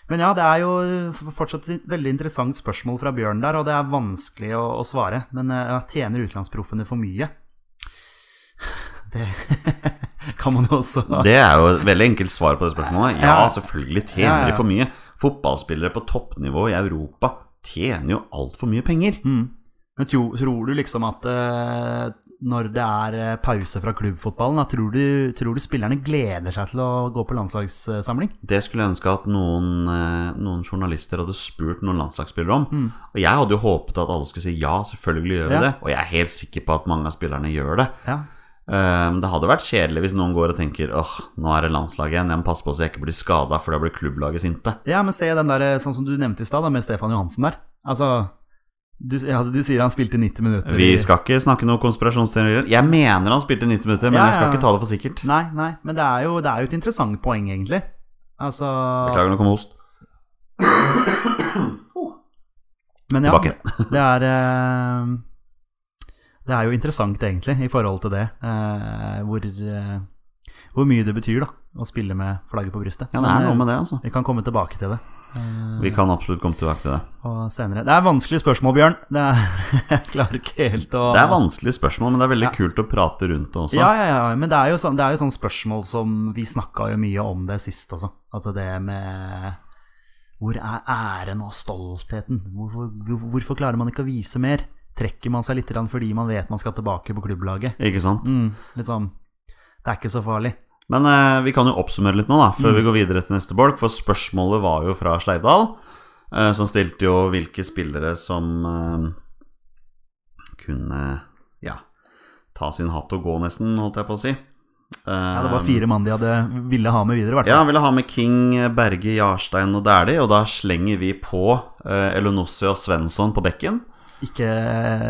Men ja, det er jo f- fortsatt et veldig interessant spørsmål fra Bjørn der, og det er vanskelig å, å svare. Men eh, ja, tjener utenlandsproffene for mye? Det kan man jo også
Det er jo et veldig enkelt svar på det spørsmålet. Ja,
Ja.
selvfølgelig
Ja,
tjener
ja.
de for mye. Fotballspillere på toppnivå i Europa tjener jo altfor mye penger.
Mm. Men tro, tror du liksom at eh, når det er eh, pause fra klubbfotballen, da, tror, du, tror du spillerne gleder seg til å gå på landslagssamling?
Det skulle jeg ønske at noen, eh, noen journalister hadde spurt noen landslagsspillere om. Og jeg hadde jo håpet at alle skulle si ja, selvfølgelig gjør vi
Mm. Ja.
det. Og jeg er helt sikker på at mange av spillerne gjør det.
Ja.
Ehm, Det hadde vært kjedelig hvis noen går og tenker åh, nå er det landslaget igjen, jeg må passe på så jeg ikke blir skada, for da blir klubblaget sinte.
Ja, men se den der, sånn som du nevnte i stad, da, med Stefan Johansen der. Altså du, altså, du sier han spilte 90 minutter.
Vi
i-
skal ikke snakke noe konspirasjonsteorier. Jeg mener han spilte 90 minutter, men
Ja,
jeg skal
ja.
ikke ta det for sikkert.
Nei, nei, men det er jo, det er jo et interessant poeng, egentlig. Altså
Beklager, nå kom host.
Men ja,
Tilbake.
det er eh, Det er jo interessant, egentlig, i forhold til det. eh, hvor, eh, hvor mye det betyr, da, å spille med flagget på brystet. eh,
Ja, det er noe med det, altså.
Vi kan komme tilbake til det. eh,
Vi kan absolutt komme tilbake til det.
og senere. Det er vanskelige spørsmål, Bjørn. Det er, jeg klarer ikke helt å
Det er vanskelige spørsmål, men det er veldig
Ja.
kult å prate rundt det også.
Ja, ja, ja, men det er jo sånn, det er jo sånn spørsmål som vi snakka jo mye om det sist også. At det med Hvor er æren og stoltheten? Hvorfor, hvor- hvorfor klarer man ikke å vise mer? Trekker man seg litt grann fordi man vet man skal tilbake på klubblaget?
Ikke sant?
Mm, litt sånn Det er ikke så farlig.
Men eh, vi kan jo oppsummere litt nå, da, før
Mm.
vi går videre til neste bolk. For spørsmålet var jo fra Sleivdal, eh, som stilte jo hvilke spillere som eh, kunne ja, ta sin hatt og gå, nesten, holdt jeg på å si.
Ja, det var fire mann de hadde ville ha med videre, i hvert
Eh, Ja,
fall.
han ville ha med King, Berge, Jarstein og Dæhlie, og da slenger vi på eh, Elonossi og Svensson på bekken.
Ikke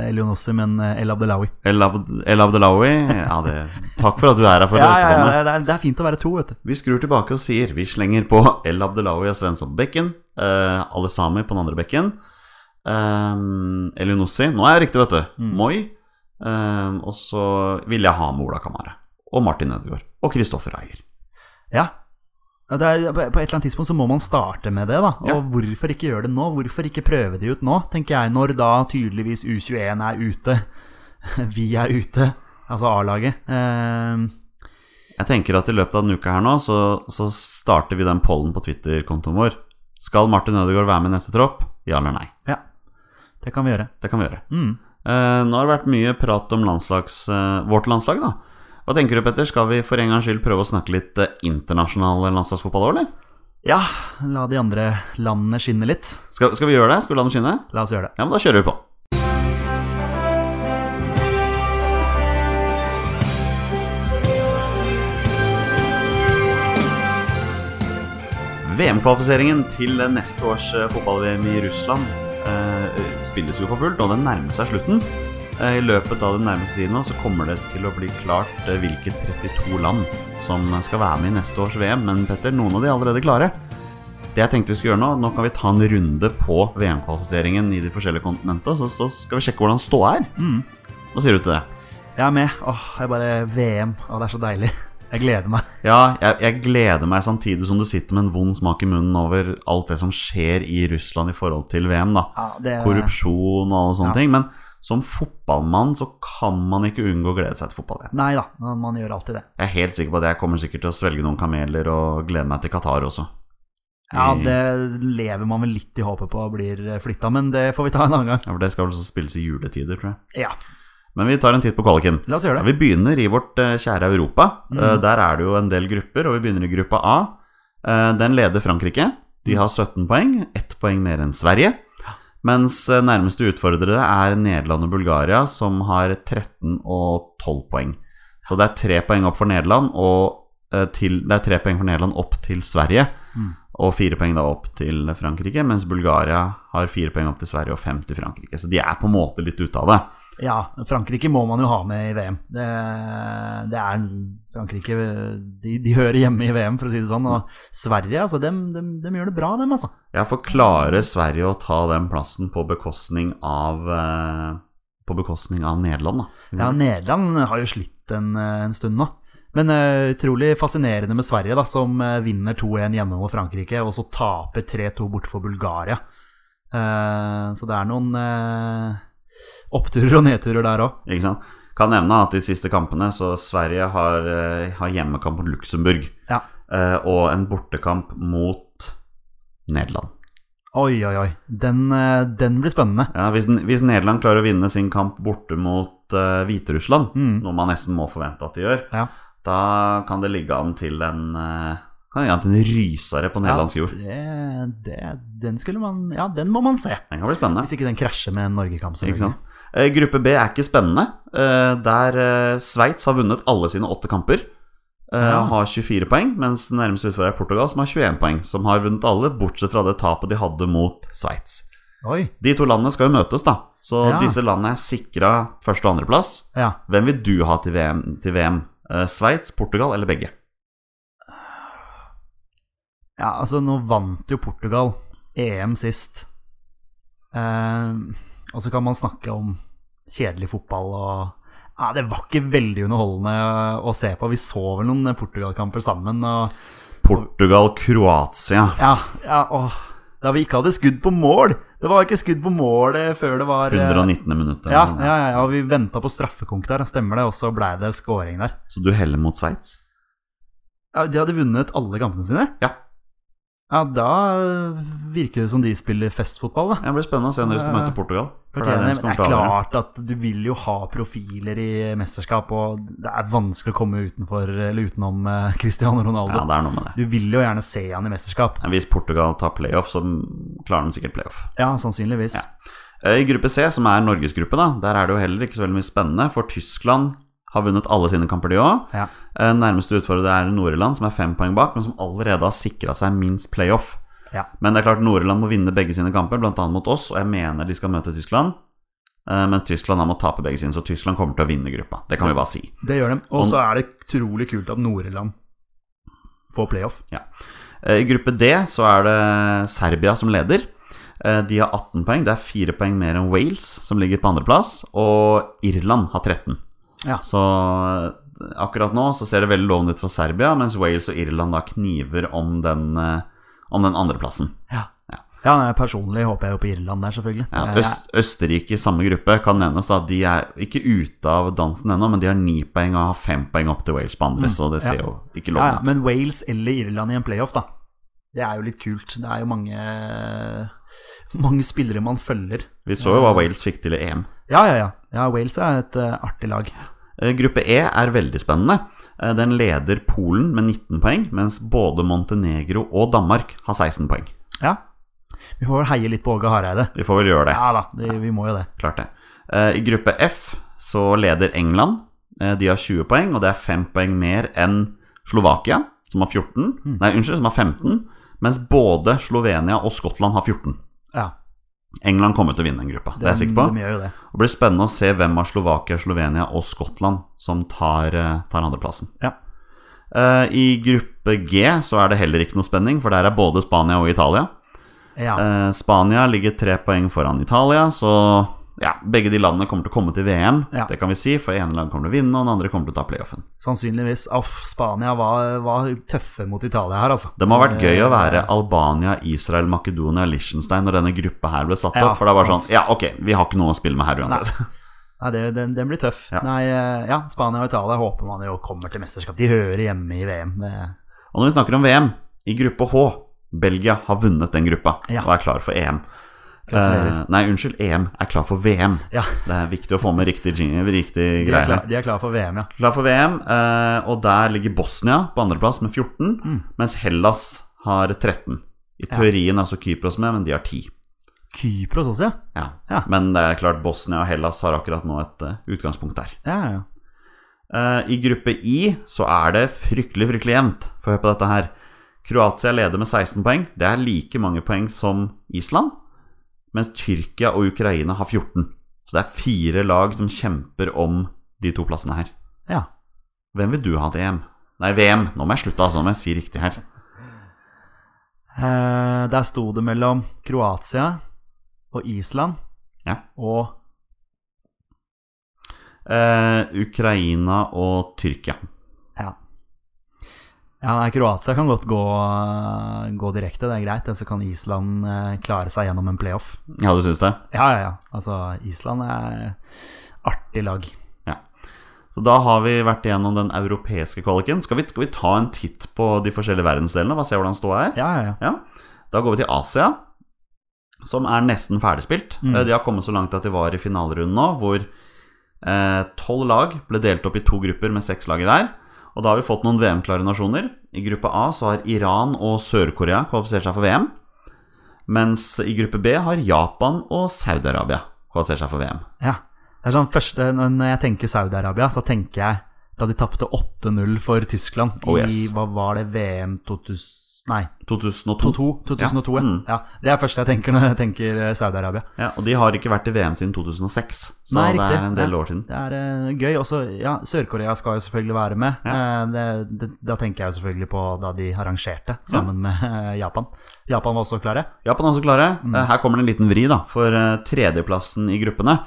Elionossi, men El Abdelawi.
El Abd- El Abdelawi ja, det- Takk for at du er her for å
Ja,
hjelpe
ja,
meg.
ja, det, er, det er fint å være to, vet du.
Vi skrur tilbake og sier vi slenger på El Abdelawi og Svensson på bekken. Eh, Alle Sami på den andre bekken. Eh, Elionossi Nå er jeg riktig, vet du.
Mm.
Moi. Eh, og så vil jeg ha med Ola Kamara. Og Martin Ødegaard. Og Kristoffer Eier.
Ja. Ja, Det er, på på et eller annet tidspunkt så må man starte med det, da. Og
Ja.
hvorfor ikke gjøre det nå? Hvorfor ikke prøve det ut nå, tenker jeg, når da tydeligvis U21 er ute. Vi er ute, altså A-laget. Ehm,
Jeg tenker at i løpet av denne uka her nå, så, så starter vi den pollen på Twitter-kontoen vår. Skal Martin Ødegaard være med i neste tropp? Ja eller nei?
ja. Det kan vi gjøre.
Det kan vi gjøre.
Mm.
Eh, nå har det vært mye prat om landslags, eh, vårt landslag, da. Hva tenker du, Petter? Skal vi for en gangs skyld prøve å snakke litt eh, internasjonal landslagsfotball òg, eller?
Ja, la de andre landene skinne litt.
Skal, skal vi gjøre det? Skal vi la dem skinne?
La oss gjøre det.
Ja, men da kjører vi på. VM-kvalifiseringen til neste års eh, fotball-VM i Russland eh, spilles jo for fullt, og den nærmer seg slutten. Eh, I løpet av den nærmeste tiden nå så kommer det til å bli klart eh, hvilke 32 land som skal være med i neste års VM, men Petter, noen av de er allerede klare. Det jeg tenkte vi skulle gjøre Nå nå kan vi ta en runde på VM-kvalifiseringen i de forskjellige kontinentene, så, så skal vi sjekke hvordan ståa er.
Mm.
Hva sier du til det?
Jeg er med. Åh, jeg bare VM. Åh, det er så deilig. Jeg gleder meg.
Ja, jeg, jeg gleder meg samtidig som du sitter med en vond smak i munnen over alt det som skjer i Russland i forhold til VM, da.
Ja, det,
Korrupsjon og alle sånne
Ja.
ting. Men som fotballmann så kan man ikke unngå å glede seg til fotball-VM.
Nei da, man man gjør alltid det.
Jeg er helt sikker på at jeg kommer sikkert til å svelge noen kameler og glede meg til Qatar også.
Ja,
I-
det lever man vel litt i håpet på blir flytta, men det får vi ta en annen gang.
Ja, for det skal vel også spilles i juletider, tror jeg.
Ja,
Men vi tar en titt på kvaliken.
la oss gjøre
Ja,
det.
vi begynner i vårt eh, kjære Europa.
Mm.
Eh, der er det jo en del grupper, og vi begynner i gruppa A. Eh, den leder Frankrike. De har 17 poeng, ett poeng mer enn Sverige. Mens eh, nærmeste utfordrere er Nederland og Bulgaria, som har 13 og 12 poeng. Så det er tre poeng opp for Nederland, og, eh, til, det er tre poeng for Nederland opp til Sverige.
Mm.
Og fire poeng da opp til Frankrike, mens Bulgaria har fire poeng opp til Sverige og fem til Frankrike. Så de er på en måte litt ute av det.
Ja, Frankrike må man jo ha med i VM. Det, det er Frankrike de, de hører hjemme i VM, for å si det sånn. Og Sverige, altså, dem, dem, dem gjør det bra, dem, altså.
Ja, for klarer Sverige å ta den plassen på bekostning av eh, På bekostning av Nederland, da?
Ja, Nederland har jo slitt en, eh, en stund nå. Men eh, utrolig fascinerende med Sverige, da, som eh, vinner 2-1 hjemme mot Frankrike, og så taper 3-2 borte for Bulgaria. Eh, så det er noen eh, oppturer og nedturer der òg.
Ikke sant? Kan nevne at de siste kampene så Sverige har, eh, har hjemmekamp mot Luxembourg.
Ja.
eh, Og en bortekamp mot Nederland.
Oi, oi, oi. Den, eh, den blir spennende.
Ja, hvis, N- hvis Nederland klarer å vinne sin kamp borte mot eh, Hviterussland,
Mm.
noe man nesten må forvente at de gjør,
Ja.
da kan det ligge an til en, eh, kan det ligge an til en rysere på nederlandsk jord.
Ja, det, det, den skulle man Ja, den må man se.
Den kan bli spennende.
Hvis ikke den krasjer med en Norge-kamp.
Ikke
selvfølgelig.
sant? Eh, Gruppe B er ikke spennende. eh, Der eh, Sveits har vunnet alle sine åtte kamper. eh,
Ja.
Har 24 poeng, mens den nærmeste utfordrer er Portugal, som har 21 poeng. Som har vunnet alle, bortsett fra det tapet de hadde mot Sveits.
Oi.
De to landene skal jo møtes, da. Så
Ja.
disse landene er sikra første- og andreplass.
Ja.
Hvem vil du ha til VM? Til VM? Eh, Sveits, Portugal eller begge?
Ja, altså nå vant jo Portugal EM sist. Eh, og så kan man snakke om kjedelig fotball og ja, Det var ikke veldig underholdende å se på. Vi så vel noen Portugal-kamper sammen. Og,
Portugal-Kroatia.
ja, ja, åh, da vi ikke hadde skudd på mål! Det var ikke skudd på mål eh, før det var eh,
119. minutt.
Ja, ja, ja, ja, vi venta på straffekonk der, stemmer det. Og så blei det scoring der.
Så du heller mot Sveits?
Ja, de hadde vunnet alle kampene sine?
Ja.
Ja, da øh, virker det som de spiller festfotball, da.
Det blir spennende å se når de skal møte Portugal. For det er
Fortjener,
den
men
som
det
kommer
er
til å avgjøre.
klart at du vil jo ha profiler i mesterskap, og det er vanskelig å komme utenfor, eller utenom eh, Cristiano
Ja,
Ronaldo.
det er noe med det.
Du vil jo gjerne se han i mesterskap.
Men Hvis Portugal tar playoff, så klarer de sikkert playoff.
Ja, sannsynligvis.
Eh, I gruppe C, som er Norges gruppe, da, der er det jo heller ikke så veldig mye spennende, for Tyskland har vunnet alle sine kamper, de òg.
Ja.
Nærmeste utfordrer er Nord-Irland, som er fem poeng bak, men som allerede har sikra seg minst playoff.
Ja.
Men det er klart Nord-Irland må vinne begge sine kamper, bl.a. mot oss, og jeg mener de skal møte Tyskland. eh, Mens Tyskland da må tape begge sine, så Tyskland kommer til å vinne gruppa. Det kan vi bare si.
Det gjør de. Og så er det utrolig kult at Nord-Irland får playoff.
Eh, I gruppe D så er det Serbia som leder. Eh, De har 18 poeng. Det er 4 poeng mer enn Wales, som ligger på andreplass. Og Irland har 13.
Ja.
Så eh, akkurat nå så ser det veldig lovende ut for Serbia, mens Wales og Irland da kniver om den, eh, om den andreplassen.
Ja, nei, personlig håper jeg jo på Irland der, selvfølgelig.
Ja,
Eh,
Øst, Østerrike i samme gruppe kan nevnes. da De er ikke ute av dansen ennå, men de har 9 poeng og har 5 poeng opp til Wales på andre, så det ser jo ikke
Mm, ja, ja,
lovende ut.
men Wales eller Irland i en playoff, da. Det er jo litt kult. Det er jo mange, mange spillere man følger.
Vi så jo hva Wales fikk til i EM.
Ja, ja, ja. ja Wales er et eh, artig lag.
Eh, Gruppe E er veldig spennende. Eh, Den leder Polen med 19 poeng, mens både Montenegro og Danmark har 16 poeng.
Ja. Vi får vel heie litt på Åge Hareide.
Vi får vel gjøre det.
Ja da, det, vi må jo det.
Klart det. Eh, I gruppe F så leder England. Eh, De har 20 poeng, og det er 5 poeng mer enn Slovakia, som har 14. Nei, unnskyld, som har 15. Mens både Slovenia og Skottland har 14.
Ja,
England kommer til å vinne den gruppa, det er jeg sikker på.
De gjør jo det.
Det blir spennende å se hvem av Slovakia, Slovenia og Skottland som tar, eh, tar andreplassen.
Ja.
Eh, I gruppe G så er det heller ikke noe spenning, for der er både Spania og Italia.
Ja.
Eh, Spania ligger tre poeng foran Italia, så ja, begge de landene kommer til å komme til VM.
Ja.
Det kan vi si, for ene land kommer til å vinne, og den andre kommer til å ta playoffen.
Sannsynligvis. Aff, Spania var, var tøffe mot Italia her, altså.
Det må ha vært gøy å
Eh,
være Albania, Israel, Makedonia, Liechtenstein når denne gruppa her ble satt
Ja,
opp. For det var
sant.
sånn Ja, ok, vi har ikke noe å spille med her uansett.
Nei, det, den, den blir tøff.
Ja.
Nei, eh, ja, Spania og Italia håper man jo kommer til mesterskap. De hører hjemme i VM. Det,
Og når vi snakker om VM, i gruppe H Belgia har vunnet den gruppa
Ja.
og er klar for EM.
Gratulerer.
Eh, nei, unnskyld. EM er klar for VM.
Ja.
Det er viktig å få med riktig, jing- riktig
de, er
greie.
klar,
Klar.
de er klar for VM, ja.
for VM, eh, og der ligger Bosnia på andreplass med 14,
Mm.
mens Hellas har 13. I teorien er altså Kypros med, men de har 10.
Kypros også, ja.
Ja.
Ja.
Men det er klart Bosnia og Hellas har akkurat nå et eh, utgangspunkt der.
Ja, ja.
Eh, I gruppe I så er det fryktelig, fryktelig jevnt. Få høre på dette her. Kroatia leder med 16 poeng. Det er like mange poeng som Island. Mens Tyrkia og Ukraina har 14. Så det er fire lag som kjemper om de to plassene her.
Ja.
Hvem vil du ha til EM? Nei, VM. Nå må jeg slutte, altså, om jeg sier riktig her.
Eh, der sto det mellom Kroatia og Island
Ja.
og
Eh, Ukraina og Tyrkia.
Ja. Ja, nei, Kroatia kan godt gå, eh, gå direkte, det er greit. Så kan Island eh, klare seg gjennom en playoff.
Ja, du syns det?
Ja, ja, ja. Altså, Island er artig lag.
Ja. Så da har vi vært igjennom den europeiske kvaliken. Skal vi, skal vi ta en titt på de forskjellige verdensdelene? Bare se hvordan ståa er?
Ja, ja, ja.
Ja. Da går vi til Asia, som er nesten ferdigspilt.
Mm.
Eh, De har kommet så langt at de var i finalerunden nå, hvor eh, tolv lag ble delt opp i to grupper med seks lag i hver. Og da har vi fått noen VM-klare nasjoner. I gruppe A så har Iran og Sør-Korea kvalifisert seg for VM. Mens i gruppe B har Japan og Saudi-Arabia kvalifisert seg for VM.
ja. Det er sånn første, når når jeg tenker Saudi-Arabia, så tenker jeg da de tapte 8-0 for Tyskland
Oh,
i
yes.
hva var det, VM 2000 Nei,
2002.
2002. 2002 ja.
Ja. Mm.
ja. Det er det første jeg tenker når jeg tenker eh, Saudi-Arabia.
Ja, og de har ikke vært i VM siden 2006, så
Nei,
det
riktig.
er en del
Ja.
år siden.
Det er eh, gøy. Også, ja, Sør-Korea skal jo selvfølgelig være med. Eh, det, det, da tenker jeg jo selvfølgelig på da de arrangerte sammen med eh, Japan. Japan var også klare.
Japan er også klare.
Mm.
Eh, Her kommer det en liten vri, da. For eh, tredjeplassen i gruppene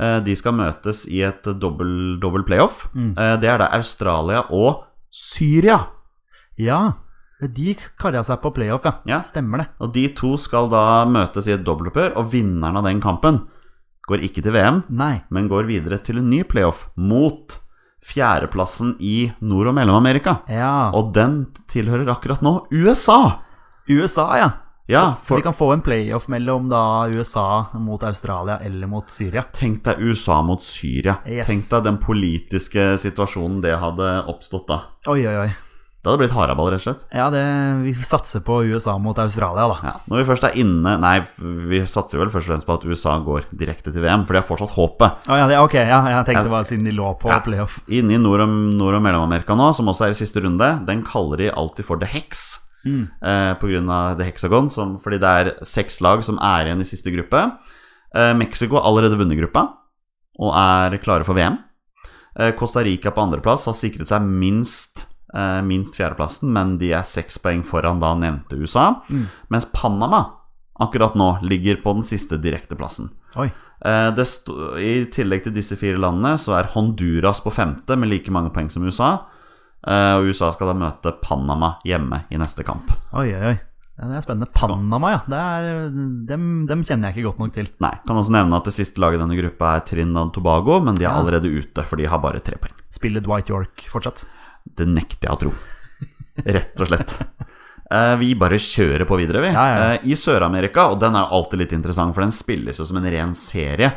eh, De skal møtes i et dobbel, dobbel playoff.
Mm.
Eh, Det er da Australia og Syria.
Ja, de karra seg på playoff, ja.
Ja.
Stemmer det.
Og de to skal da møtes i et dobbeltoppgjør, og vinneren av den kampen går ikke til VM,
Nei.
men går videre til en ny playoff mot fjerdeplassen i Nord- og Mellom-Amerika.
Ja.
Og den tilhører akkurat nå USA!
USA, ja.
Ja,
Så
for
vi kan få en playoff mellom da USA mot Australia eller mot Syria.
Tenk deg USA mot Syria.
Yes.
Tenk deg den politiske situasjonen det hadde oppstått da.
Oi, oi, oi.
Det hadde blitt haraball, rett og slett.
Ja, det, vi satser på USA mot Australia, da.
Ja. Når vi først er inne Nei, vi satser vel først og fremst på at USA går direkte til VM, for de har fortsatt håpet.
Å, ja, det, ok, ja, jeg tenkte bare siden de lå på
Ja.
playoff.
Inne i Nord- og, Nord og Mellom-Amerika nå, som også er i siste runde, den kaller de alltid for The Hex. Eh, på grunn av The Hexagon, som, fordi det er seks lag som er igjen i siste gruppe. Eh, Mexico har allerede vunnet gruppa og er klare for VM. Eh, Costa Rica på andreplass har sikret seg minst, eh, minst fjerdeplassen, men de er seks poeng foran da nevnte USA. Mens Panama akkurat nå ligger på den siste direkteplassen.
Oi.
Eh, det sto, I tillegg til disse fire landene så er Honduras på femte med like mange poeng som USA. Eh, og USA skal da møte Panama hjemme i neste kamp.
Oi, oi, oi. Ja, det er spennende. Panama, ja. Det er, dem, dem kjenner jeg ikke godt nok til.
Nei, kan også nevne at det siste laget i denne gruppa er Trinidad Tobago, men de er
Ja.
allerede ute, for de har bare tre poeng.
Spiller Dwight York fortsatt?
Det nekter jeg å tro. Rett og slett. Eh, Vi bare kjører på videre, vi.
Ja, ja.
Eh, I Sør-Amerika, og den er jo alltid litt interessant, for den spilles jo som en ren serie,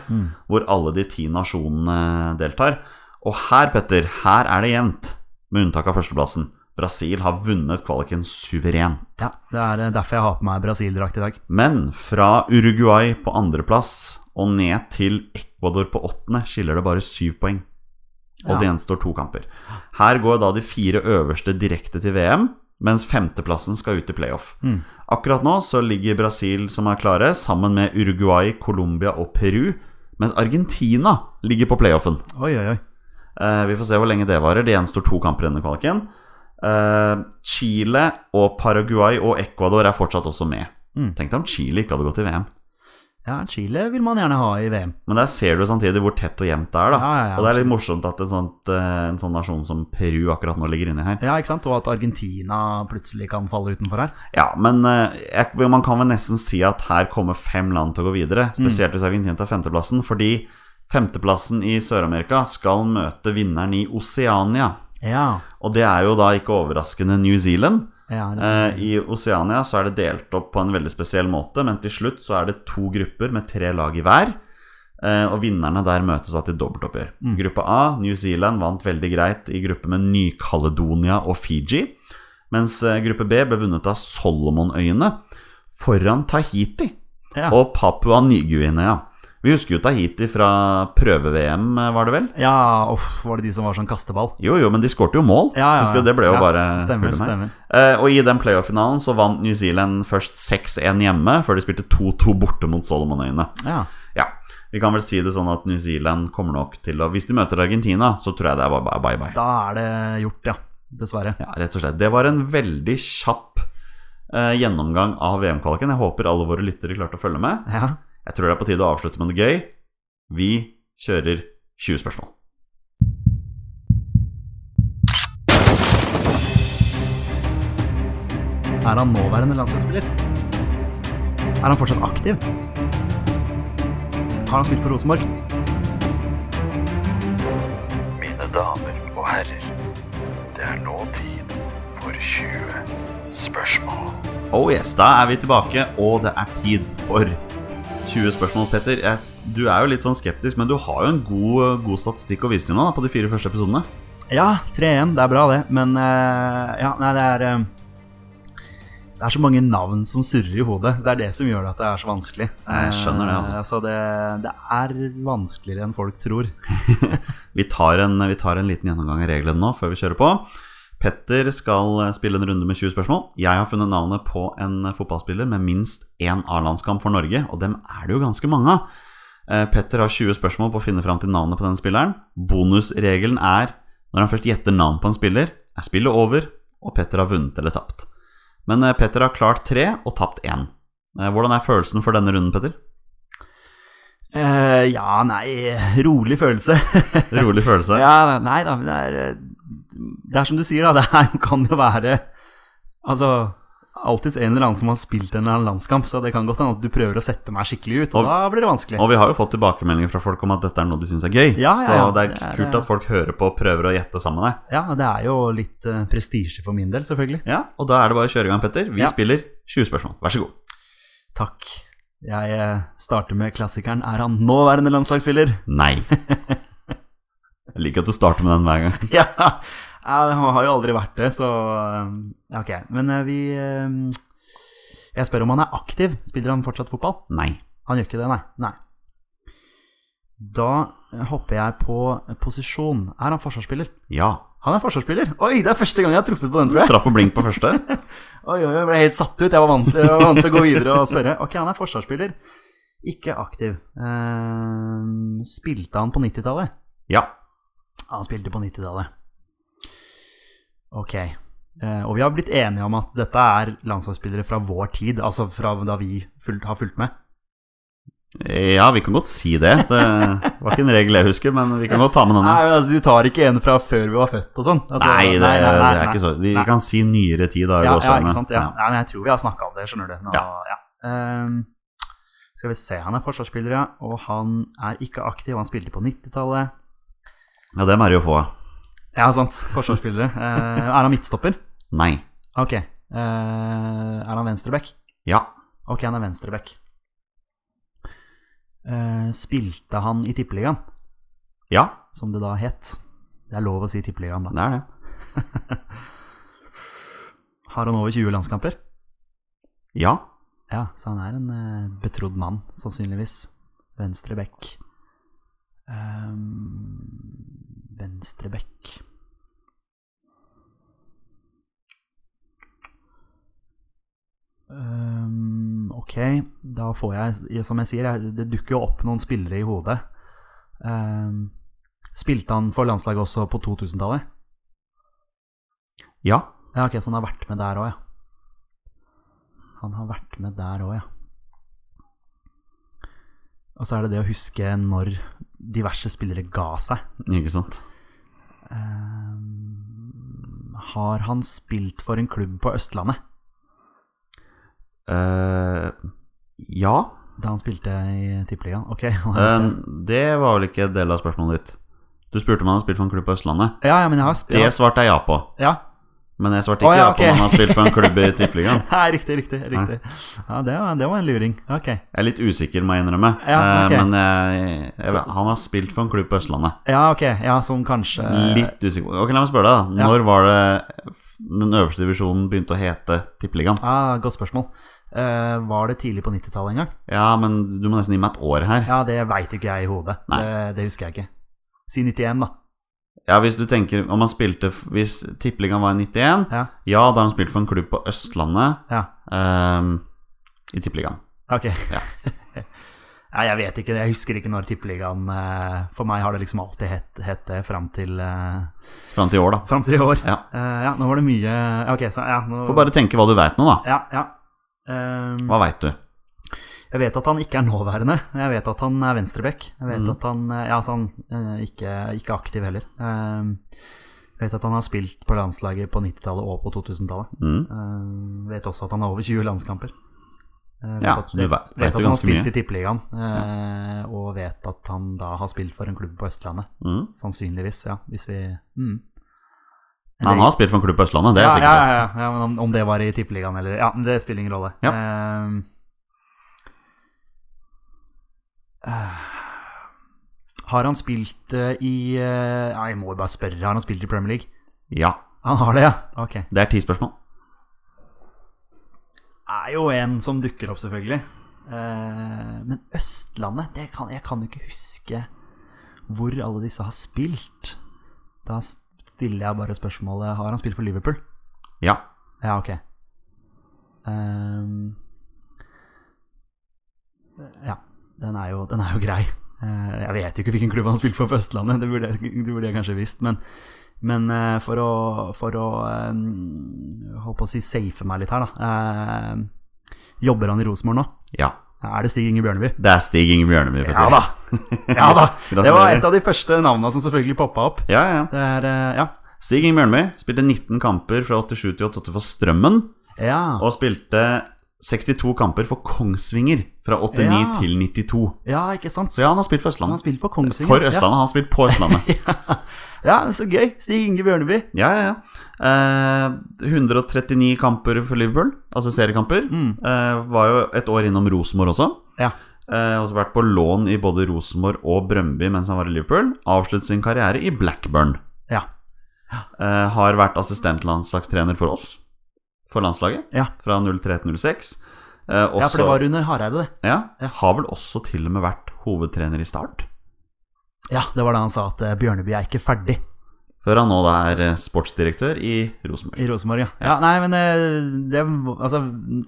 hvor alle de ti nasjonene deltar. Og her, Petter, her er det jevnt, med unntak av førsteplassen. Brasil har vunnet kvaliken suverent.
Ja. Det er eh, derfor jeg har på meg Brasil-drakt i dag.
Men fra Uruguay på andreplass og ned til Ecuador på åttende skiller det bare syv poeng. Og
Ja.
det gjenstår to kamper. Her går da de fire øverste direkte til VM, mens femteplassen skal ut i playoff. Akkurat nå så ligger Brasil, som er klare, sammen med Uruguay, Colombia og Peru, mens Argentina ligger på playoffen.
Oi, oi, oi.
Eh, vi får se hvor lenge det varer. Det gjenstår to kamper i denne kvaliken. Eh, Chile og Paraguay og Ecuador er fortsatt også med. Tenk deg om Chile ikke hadde gått til VM.
Ja, Chile vil man gjerne ha i VM.
Men der ser du samtidig hvor tett og jevnt det er. da
Ja, ja, ja,
Og det er litt morsomt at en, sånt, eh, en sånn nasjon som Peru akkurat nå ligger inni her.
Ja, ikke sant? Og at Argentina plutselig kan falle utenfor her.
Ja, men eh, jeg, man kan vel nesten si at her kommer fem land til å gå videre.
Mm.
Spesielt hvis Argentina tar femteplassen, fordi femteplassen i Sør-Amerika skal møte vinneren i Oseania.
Ja.
Og det er jo da ikke overraskende New Zealand.
ja det-
Eh, I Oseania så er det delt opp på en veldig spesiell måte, men til slutt så er det to grupper med tre lag i hver. eh, Og vinnerne der møtes da til dobbeltoppgjør.
Mm.
Gruppe A, New Zealand vant veldig greit i gruppe med Ny-Caledonia og Fiji. Mens eh, gruppe B ble vunnet av Solomonøyene foran Tahiti
ja.
og Papua Ny-Guinea. Vi husker jo Tahiti fra prøve-VM, eh, var det vel?
Ja, uff, var det de som var sånn kasteball?
Jo, jo, men de skårte jo mål.
Ja, ja, ja.
Husker du, det ble jo
Ja,
bare
stemmer,
hull med.
stemmer.
Eh, og i den playoff-finalen så vant New Zealand først 6-1 hjemme, før de spilte 2-2 borte mot Solomonøyene.
Ja.
Ja, vi kan vel si det sånn at New Zealand kommer nok til å Hvis de møter Argentina, så tror jeg det er bare bare bye-bye.
Da er det gjort, ja. Dessverre.
Ja, rett og slett. Det var en veldig kjapp eh, gjennomgang av VM-kvaliken. Jeg håper alle våre lyttere klarte å følge med.
Ja.
Jeg tror det er på tide å avslutte med noe gøy. Vi kjører 20 spørsmål.
Er han nåværende landslagsspiller? Er han fortsatt aktiv? Har han spilt for Rosenborg?
Mine damer og herrer, det er nå tid for 20 spørsmål.
Oh yes, da er vi tilbake, og det er tid for 20 spørsmål, Petter. Jeg, s- du er jo litt sånn skeptisk, men du har jo en god, god statistikk å vise til nå da, på de fire første episodene.
Ja, 3-1. Det er bra, det. Men eh, ja, nei, det er eh, Det er så mange navn som surrer i hodet. Det er det som gjør at det er så vanskelig.
Jeg skjønner det, altså.
Eh, så det, det er vanskeligere enn folk tror.
Vi tar, en, vi tar en liten gjennomgang av reglene nå før vi kjører på. Petter skal eh, spille en runde med 20 spørsmål. Jeg har funnet navnet på en eh, fotballspiller med minst én A-landskamp for Norge, og dem er det jo ganske mange av. Eh, Petter har 20 spørsmål på å finne fram til navnet på den spilleren. Bonusregelen er når han først gjetter navn på en spiller, er spillet over, og Petter har vunnet eller tapt. Men eh, Petter har klart tre og tapt én. Eh, Hvordan er følelsen for denne runden, Petter?
Eh, ja, nei Rolig følelse.
Rolig følelse.
ja, nei da, men det er eh, Det er som du sier, da. Det her kan jo være Altså Alltids en eller annen som har spilt en eller annen landskamp, så det kan godt hende at du prøver å sette meg skikkelig ut, og,
Og-
da blir det vanskelig.
Og vi har jo fått tilbakemeldinger fra folk om at dette er noe de syns er gøy.
Ja, ja, ja.
Så det er
Det er- eh,
kult at folk hører på og prøver å gjette sammen med deg.
Ja, det er jo litt eh, prestisje for min del, selvfølgelig.
Ja, og da er det bare å kjøre i gang, Petter. Vi
Ja.
spiller 20 spørsmål. Vær så god.
Takk. Jeg eh, starter med klassikeren. Er han nåværende landslagsspiller?
Nei. Jeg liker at du starter med den hver gang.
ja, eh, han har jo aldri vært det, så eh, Ok. Men eh, vi eh, Jeg spør om han er aktiv. Spiller han fortsatt fotball?
Nei.
Han gjør ikke det, nei. nei. Da hopper jeg på posisjon. Er han forsvarsspiller?
Ja.
Han er forsvarsspiller! Oi, det er første gang jeg har truffet på den, tror jeg.
Traff på blink på første.
Oi, oi, oi, jeg ble helt satt ut. Jeg var vant til, jeg var vant til å gå videre og spørre. Ok, han er forsvarsspiller. Ikke aktiv. Ehm, spilte han på 90-tallet?
Ja.
Ja, han spilte på 90-tallet. Ok. Eh, og vi har blitt enige om at dette er landslagsspillere fra vår tid, altså fra da vi fulgt, har fulgt med.
Ja, vi kan godt si det. Det var ikke en regel jeg husker, men vi kan godt ta med denne.
Nei, men altså, du tar ikke en fra før vi var født og sånn? Altså,
Nei, det, det er
nei.
ikke så Vi
nei.
kan si nyere tid, da. i
Ja, ja,
gåseøyne.
ikke sant. Ja. Nei, men jeg tror vi har snakka om det, skjønner du. Nå, ja.
Ja.
Ehm, skal vi se, han er forsvarsspiller, ja. Og han er ikke aktiv, han spilte på 90-tallet.
Ja, dem er det jo få av.
Ja, sant. Forsvarsspillere. Eh, er han midtstopper?
Nei.
Ok. Eh, er han venstreback?
Ja.
Ok, han er venstreback. Eh, spilte han i Tippeligaen,
Ja,
som det da het? Det er lov å si Tippeligaen, da.
det er det.
Har han over 20 landskamper?
Ja.
Ja, så han er en eh, betrodd mann, sannsynligvis. Venstre bekk. Ehm, venstre bekk Ehm, Ok, da får jeg, som jeg sier, jeg, det dukker jo opp noen spillere i hodet. Ehm, spilte han for landslaget også på 2000-tallet?
Ja.
Ja, ok, så han har vært med der òg, ja. Han har vært med der òg, ja. Og så er det det å huske når diverse spillere ga seg.
Ikke sant.
Ehm, har han spilt for en klubb på Østlandet
Eh, ja.
da han spilte i Tippeligaen? Ok. han har
Eh,
gjort det.
det var vel ikke del av spørsmålet ditt. Du spurte om han har spilt for en klubb på Østlandet.
ja, ja, men jeg har spilt
Det svarte jeg ja på.
ja.
Men jeg svarte ikke
Å, ja,
da på
ok.
om han har spilt for en klubb i Tippeligaen.
Nei, riktig, riktig. riktig. Ja, det var, det var en luring. Ok.
Jeg er litt usikker, må jeg innrømme.
Ja,
Eh,
ok.
Men jeg, jeg, vet- han har spilt for en klubb på Østlandet.
Ja, ok. Ja, som kanskje
Litt usikker. Ok, La meg spørre deg, da.
Eh, Ja.
Når var det den øverste divisjonen begynte å hete Tippeligaen?
Ja, Ah, Godt spørsmål. Eh, var det tidlig på 90-tallet en gang?
Ja, men du må nesten gi meg et år her.
Ja, det veit ikke jeg i hodet.
Nei.
Det, det husker jeg ikke. Si 91, da.
Ja, hvis du tenker om han spilte f- Hvis Tippeligaen var i 91,
Ja.
ja, da har han spilt for en klubb på Østlandet
ja.
ehm, i Tippeligaen.
Ok. Nei, jeg vet ikke. Jeg husker ikke når Tippeligaen eh, For meg har det liksom alltid hett het det fram til, eh,
Fram til i år, da.
fram til i år.
Ja.
Eh, ja, nå var det mye Ok, så ja, nå
Får bare tenke hva du veit nå, da.
Ja, ja. Ehm,
Hva veit du?
jeg vet at han ikke er nåværende. Jeg vet at han er venstreback. Jeg vet
Mm.
at han eh, Ja, altså han eh, ikke, ikke aktiv heller. Ehm, jeg vet at han har spilt på landslaget på 90-tallet og på 2000-tallet.
Mm.
Eh, vet også at han har over 20 landskamper. Eh, vet
Ja,
at,
så du
vet,
ve-
vet,
vet jo
at han har
ganske
spilt
mye.
i Tippeligaen, eh, og vet at han da har spilt for en klubb på Østlandet.
Mm.
Sannsynligvis, ja. Hvis vi mm.
Han har spilt for en klubb på Østlandet, det er
ja,
sikkert.
ja, ja, ja, ja, men om, om det var i Tippeligaen eller Ja, men det spiller ingen rolle.
Ja.
Ehm, eh, har han spilt eh, i eh, Nei, jeg må jo bare spørre. Har han spilt i Premier League?
Ja,
Han har det, ja. Ok.
det er ti spørsmål.
er jo en som dukker opp, selvfølgelig. Eh, men Østlandet det kan, Jeg kan jo ikke huske hvor alle disse har spilt. Da stiller jeg bare spørsmålet Har han spilt for Liverpool?
Ja.
Ja, ok. Ehm, ja, den er jo, den er jo grei. Eh, jeg vet jo ikke hvilken klubb han spilte for på Østlandet, det burde, jeg- det burde jeg kanskje visst. Men, men eh, for å, for å ehm, holdt på å si safe meg litt her, da. ehm, jobber han i Rosenborg nå?
Ja.
Er det Stig Inge Bjørneby?
Det er Stig Inge Bjørneby. Petter.
Ja da! Ja da! Det var
Gratulerer.
et av de første navna som selvfølgelig poppa opp.
Ja, ja, ja.
Det er, eh, ja.
Stig Inge Bjørneby spilte 19 kamper fra 87 til 88 for Strømmen,
Ja,
og spilte 62 kamper for Kongsvinger fra 89
Ja.
til 92.
ja ikke sant?
Så ja, han har spilt for
Han
Østlandet.
spilte for Kongsvinger.
For
ja.
Østlandet. Han har spilt på Østlandet.
Ja, så gøy. Stig Inge Bjørneby.
Ja, ja, ja. Eh, 139 kamper for Liverpool, altså seriekamper.
Mm.
Eh, var jo et år innom Rosenborg også.
Ja.
Eh, også vært på lån i både Rosenborg og Brøndby mens han var i Liverpool. Avsluttet sin karriere i Blackburn.
Ja.
Eh, har vært assistentlandslagstrener for oss, for landslaget,
Ja.
fra 03 til 06. Eh, også,
ja, for det var under Hareide, det.
ja,
ja.
Har vel også til og med vært hovedtrener i Start,
Ja, det var da han sa at eh, Bjørneby er ikke ferdig
før han nå da er eh, sportsdirektør i Rosenborg.
i Rosenborg, ja. ja. Nei, men eh, det Altså,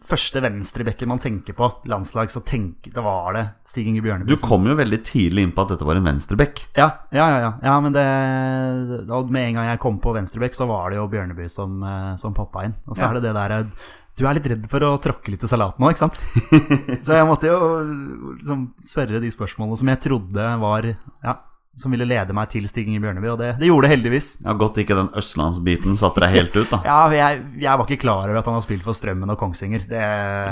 første venstrebekken man tenker på landslag, så tenk, da var det Stig Inge
Du
Bjørneby. som-
kom jo veldig tidlig inn på at dette var en venstreback.
Ja, ja, ja. ja. ja men det og Med en gang jeg kom på venstrebekk, så var det jo Bjørneby som, eh, som poppa inn. Og så
Ja.
er det det derre Du er litt redd for å tråkke litt i salaten nå, ikke sant? så jeg måtte jo liksom, spørre de spørsmålene som jeg trodde var Ja, som ville lede meg til Stig Inge Bjørneby, og det, det gjorde det heldigvis.
Ja, Godt ikke den østlandsbiten satte deg helt ut, da.
Ja, jeg, jeg var ikke klar over at han har spilt for Strømmen og Kongsvinger. Det,
Det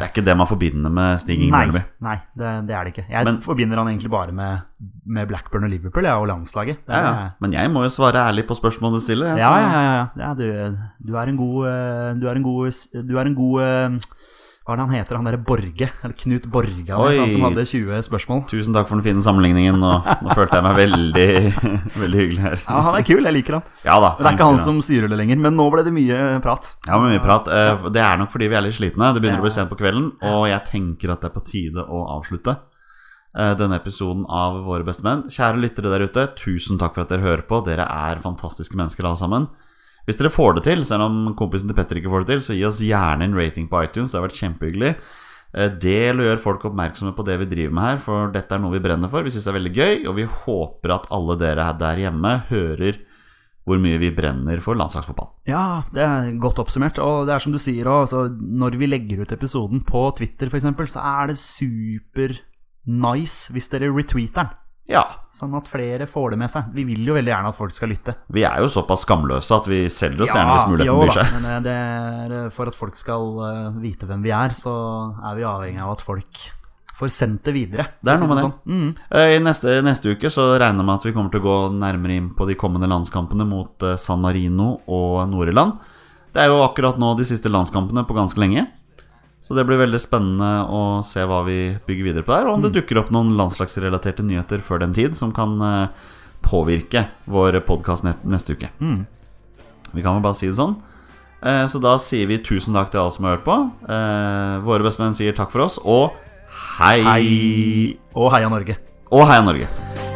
er ikke det man forbinder med Stig Inge
nei,
Bjørneby.
nei det, det er det ikke. Jeg
Men-
forbinder han egentlig bare med, med Blackburn og Liverpool ja, og landslaget. Det
Ja,
er,
ja. Men jeg må jo svare ærlig på spørsmålet du stiller. jeg, så-
Ja, ja, ja. ja. ja du, du er en god eh, Du er en god, s- du er en god eh, Hva er det han heter? Han derre Borge? Eller Knut Borge, han,
Oi.
het, han som hadde 20 spørsmål.
Tusen takk for den fine sammenligningen. Og nå følte jeg meg veldig, veldig hyggelig her.
Ja, han er kul, jeg liker han.
Ja da.
Men det er ikke han som styrer det lenger. Men nå ble det mye eh, prat.
Ja, men mye prat. Eh, Det er nok fordi vi er litt slitne. Det begynner å bli sent på kvelden, og jeg tenker at det er på tide å avslutte eh, denne episoden av Våre beste menn. Kjære lyttere der ute, tusen takk for at dere hører på. Dere er fantastiske mennesker alle sammen. Hvis dere får det til, selv om kompisen til Petter ikke får det til, så gi oss gjerne en rating på iTunes. Det har vært kjempehyggelig. Eh, Del og gjør folk oppmerksomme på det vi driver med her, for dette er noe vi brenner for. Vi syns det er veldig gøy, og vi håper at alle dere her der hjemme hører hvor mye vi brenner for landslagsfotball.
Ja, det er godt oppsummert. Og det er som du sier, og altså, når vi legger ut episoden på Twitter f.eks., så er det super nice hvis dere retweeter den.
Ja,
Sånn at flere får det med seg. Vi vil jo veldig gjerne at folk skal lytte.
Vi er jo såpass skamløse at vi selger oss gjerne hvis muligheten
jo
byr
da,
seg.
Men eh, det er eh, for at folk skal eh, vite hvem vi er, så er vi avhengig av at folk får sendt det sånn. videre.
Det er
for å
noe
si
med Eh, I neste, neste uke så regner jeg med at vi kommer til å gå nærmere inn på de kommende landskampene mot eh, San Marino og Nord-Irland. Det er jo akkurat nå de siste landskampene på ganske lenge. Så det blir veldig spennende å se hva vi bygger videre på der. Og om
Mm.
det dukker opp noen landslagsrelaterte nyheter før den tid som kan eh, påvirke vår podkast neste uke.
Mm.
Vi kan vel bare si det sånn. Eh, Så da sier vi tusen takk til alle som har hørt på. Eh, Våre bestemenn sier takk for oss, og hei!
Hei. Mm. Og heia Norge.
Og heia Norge!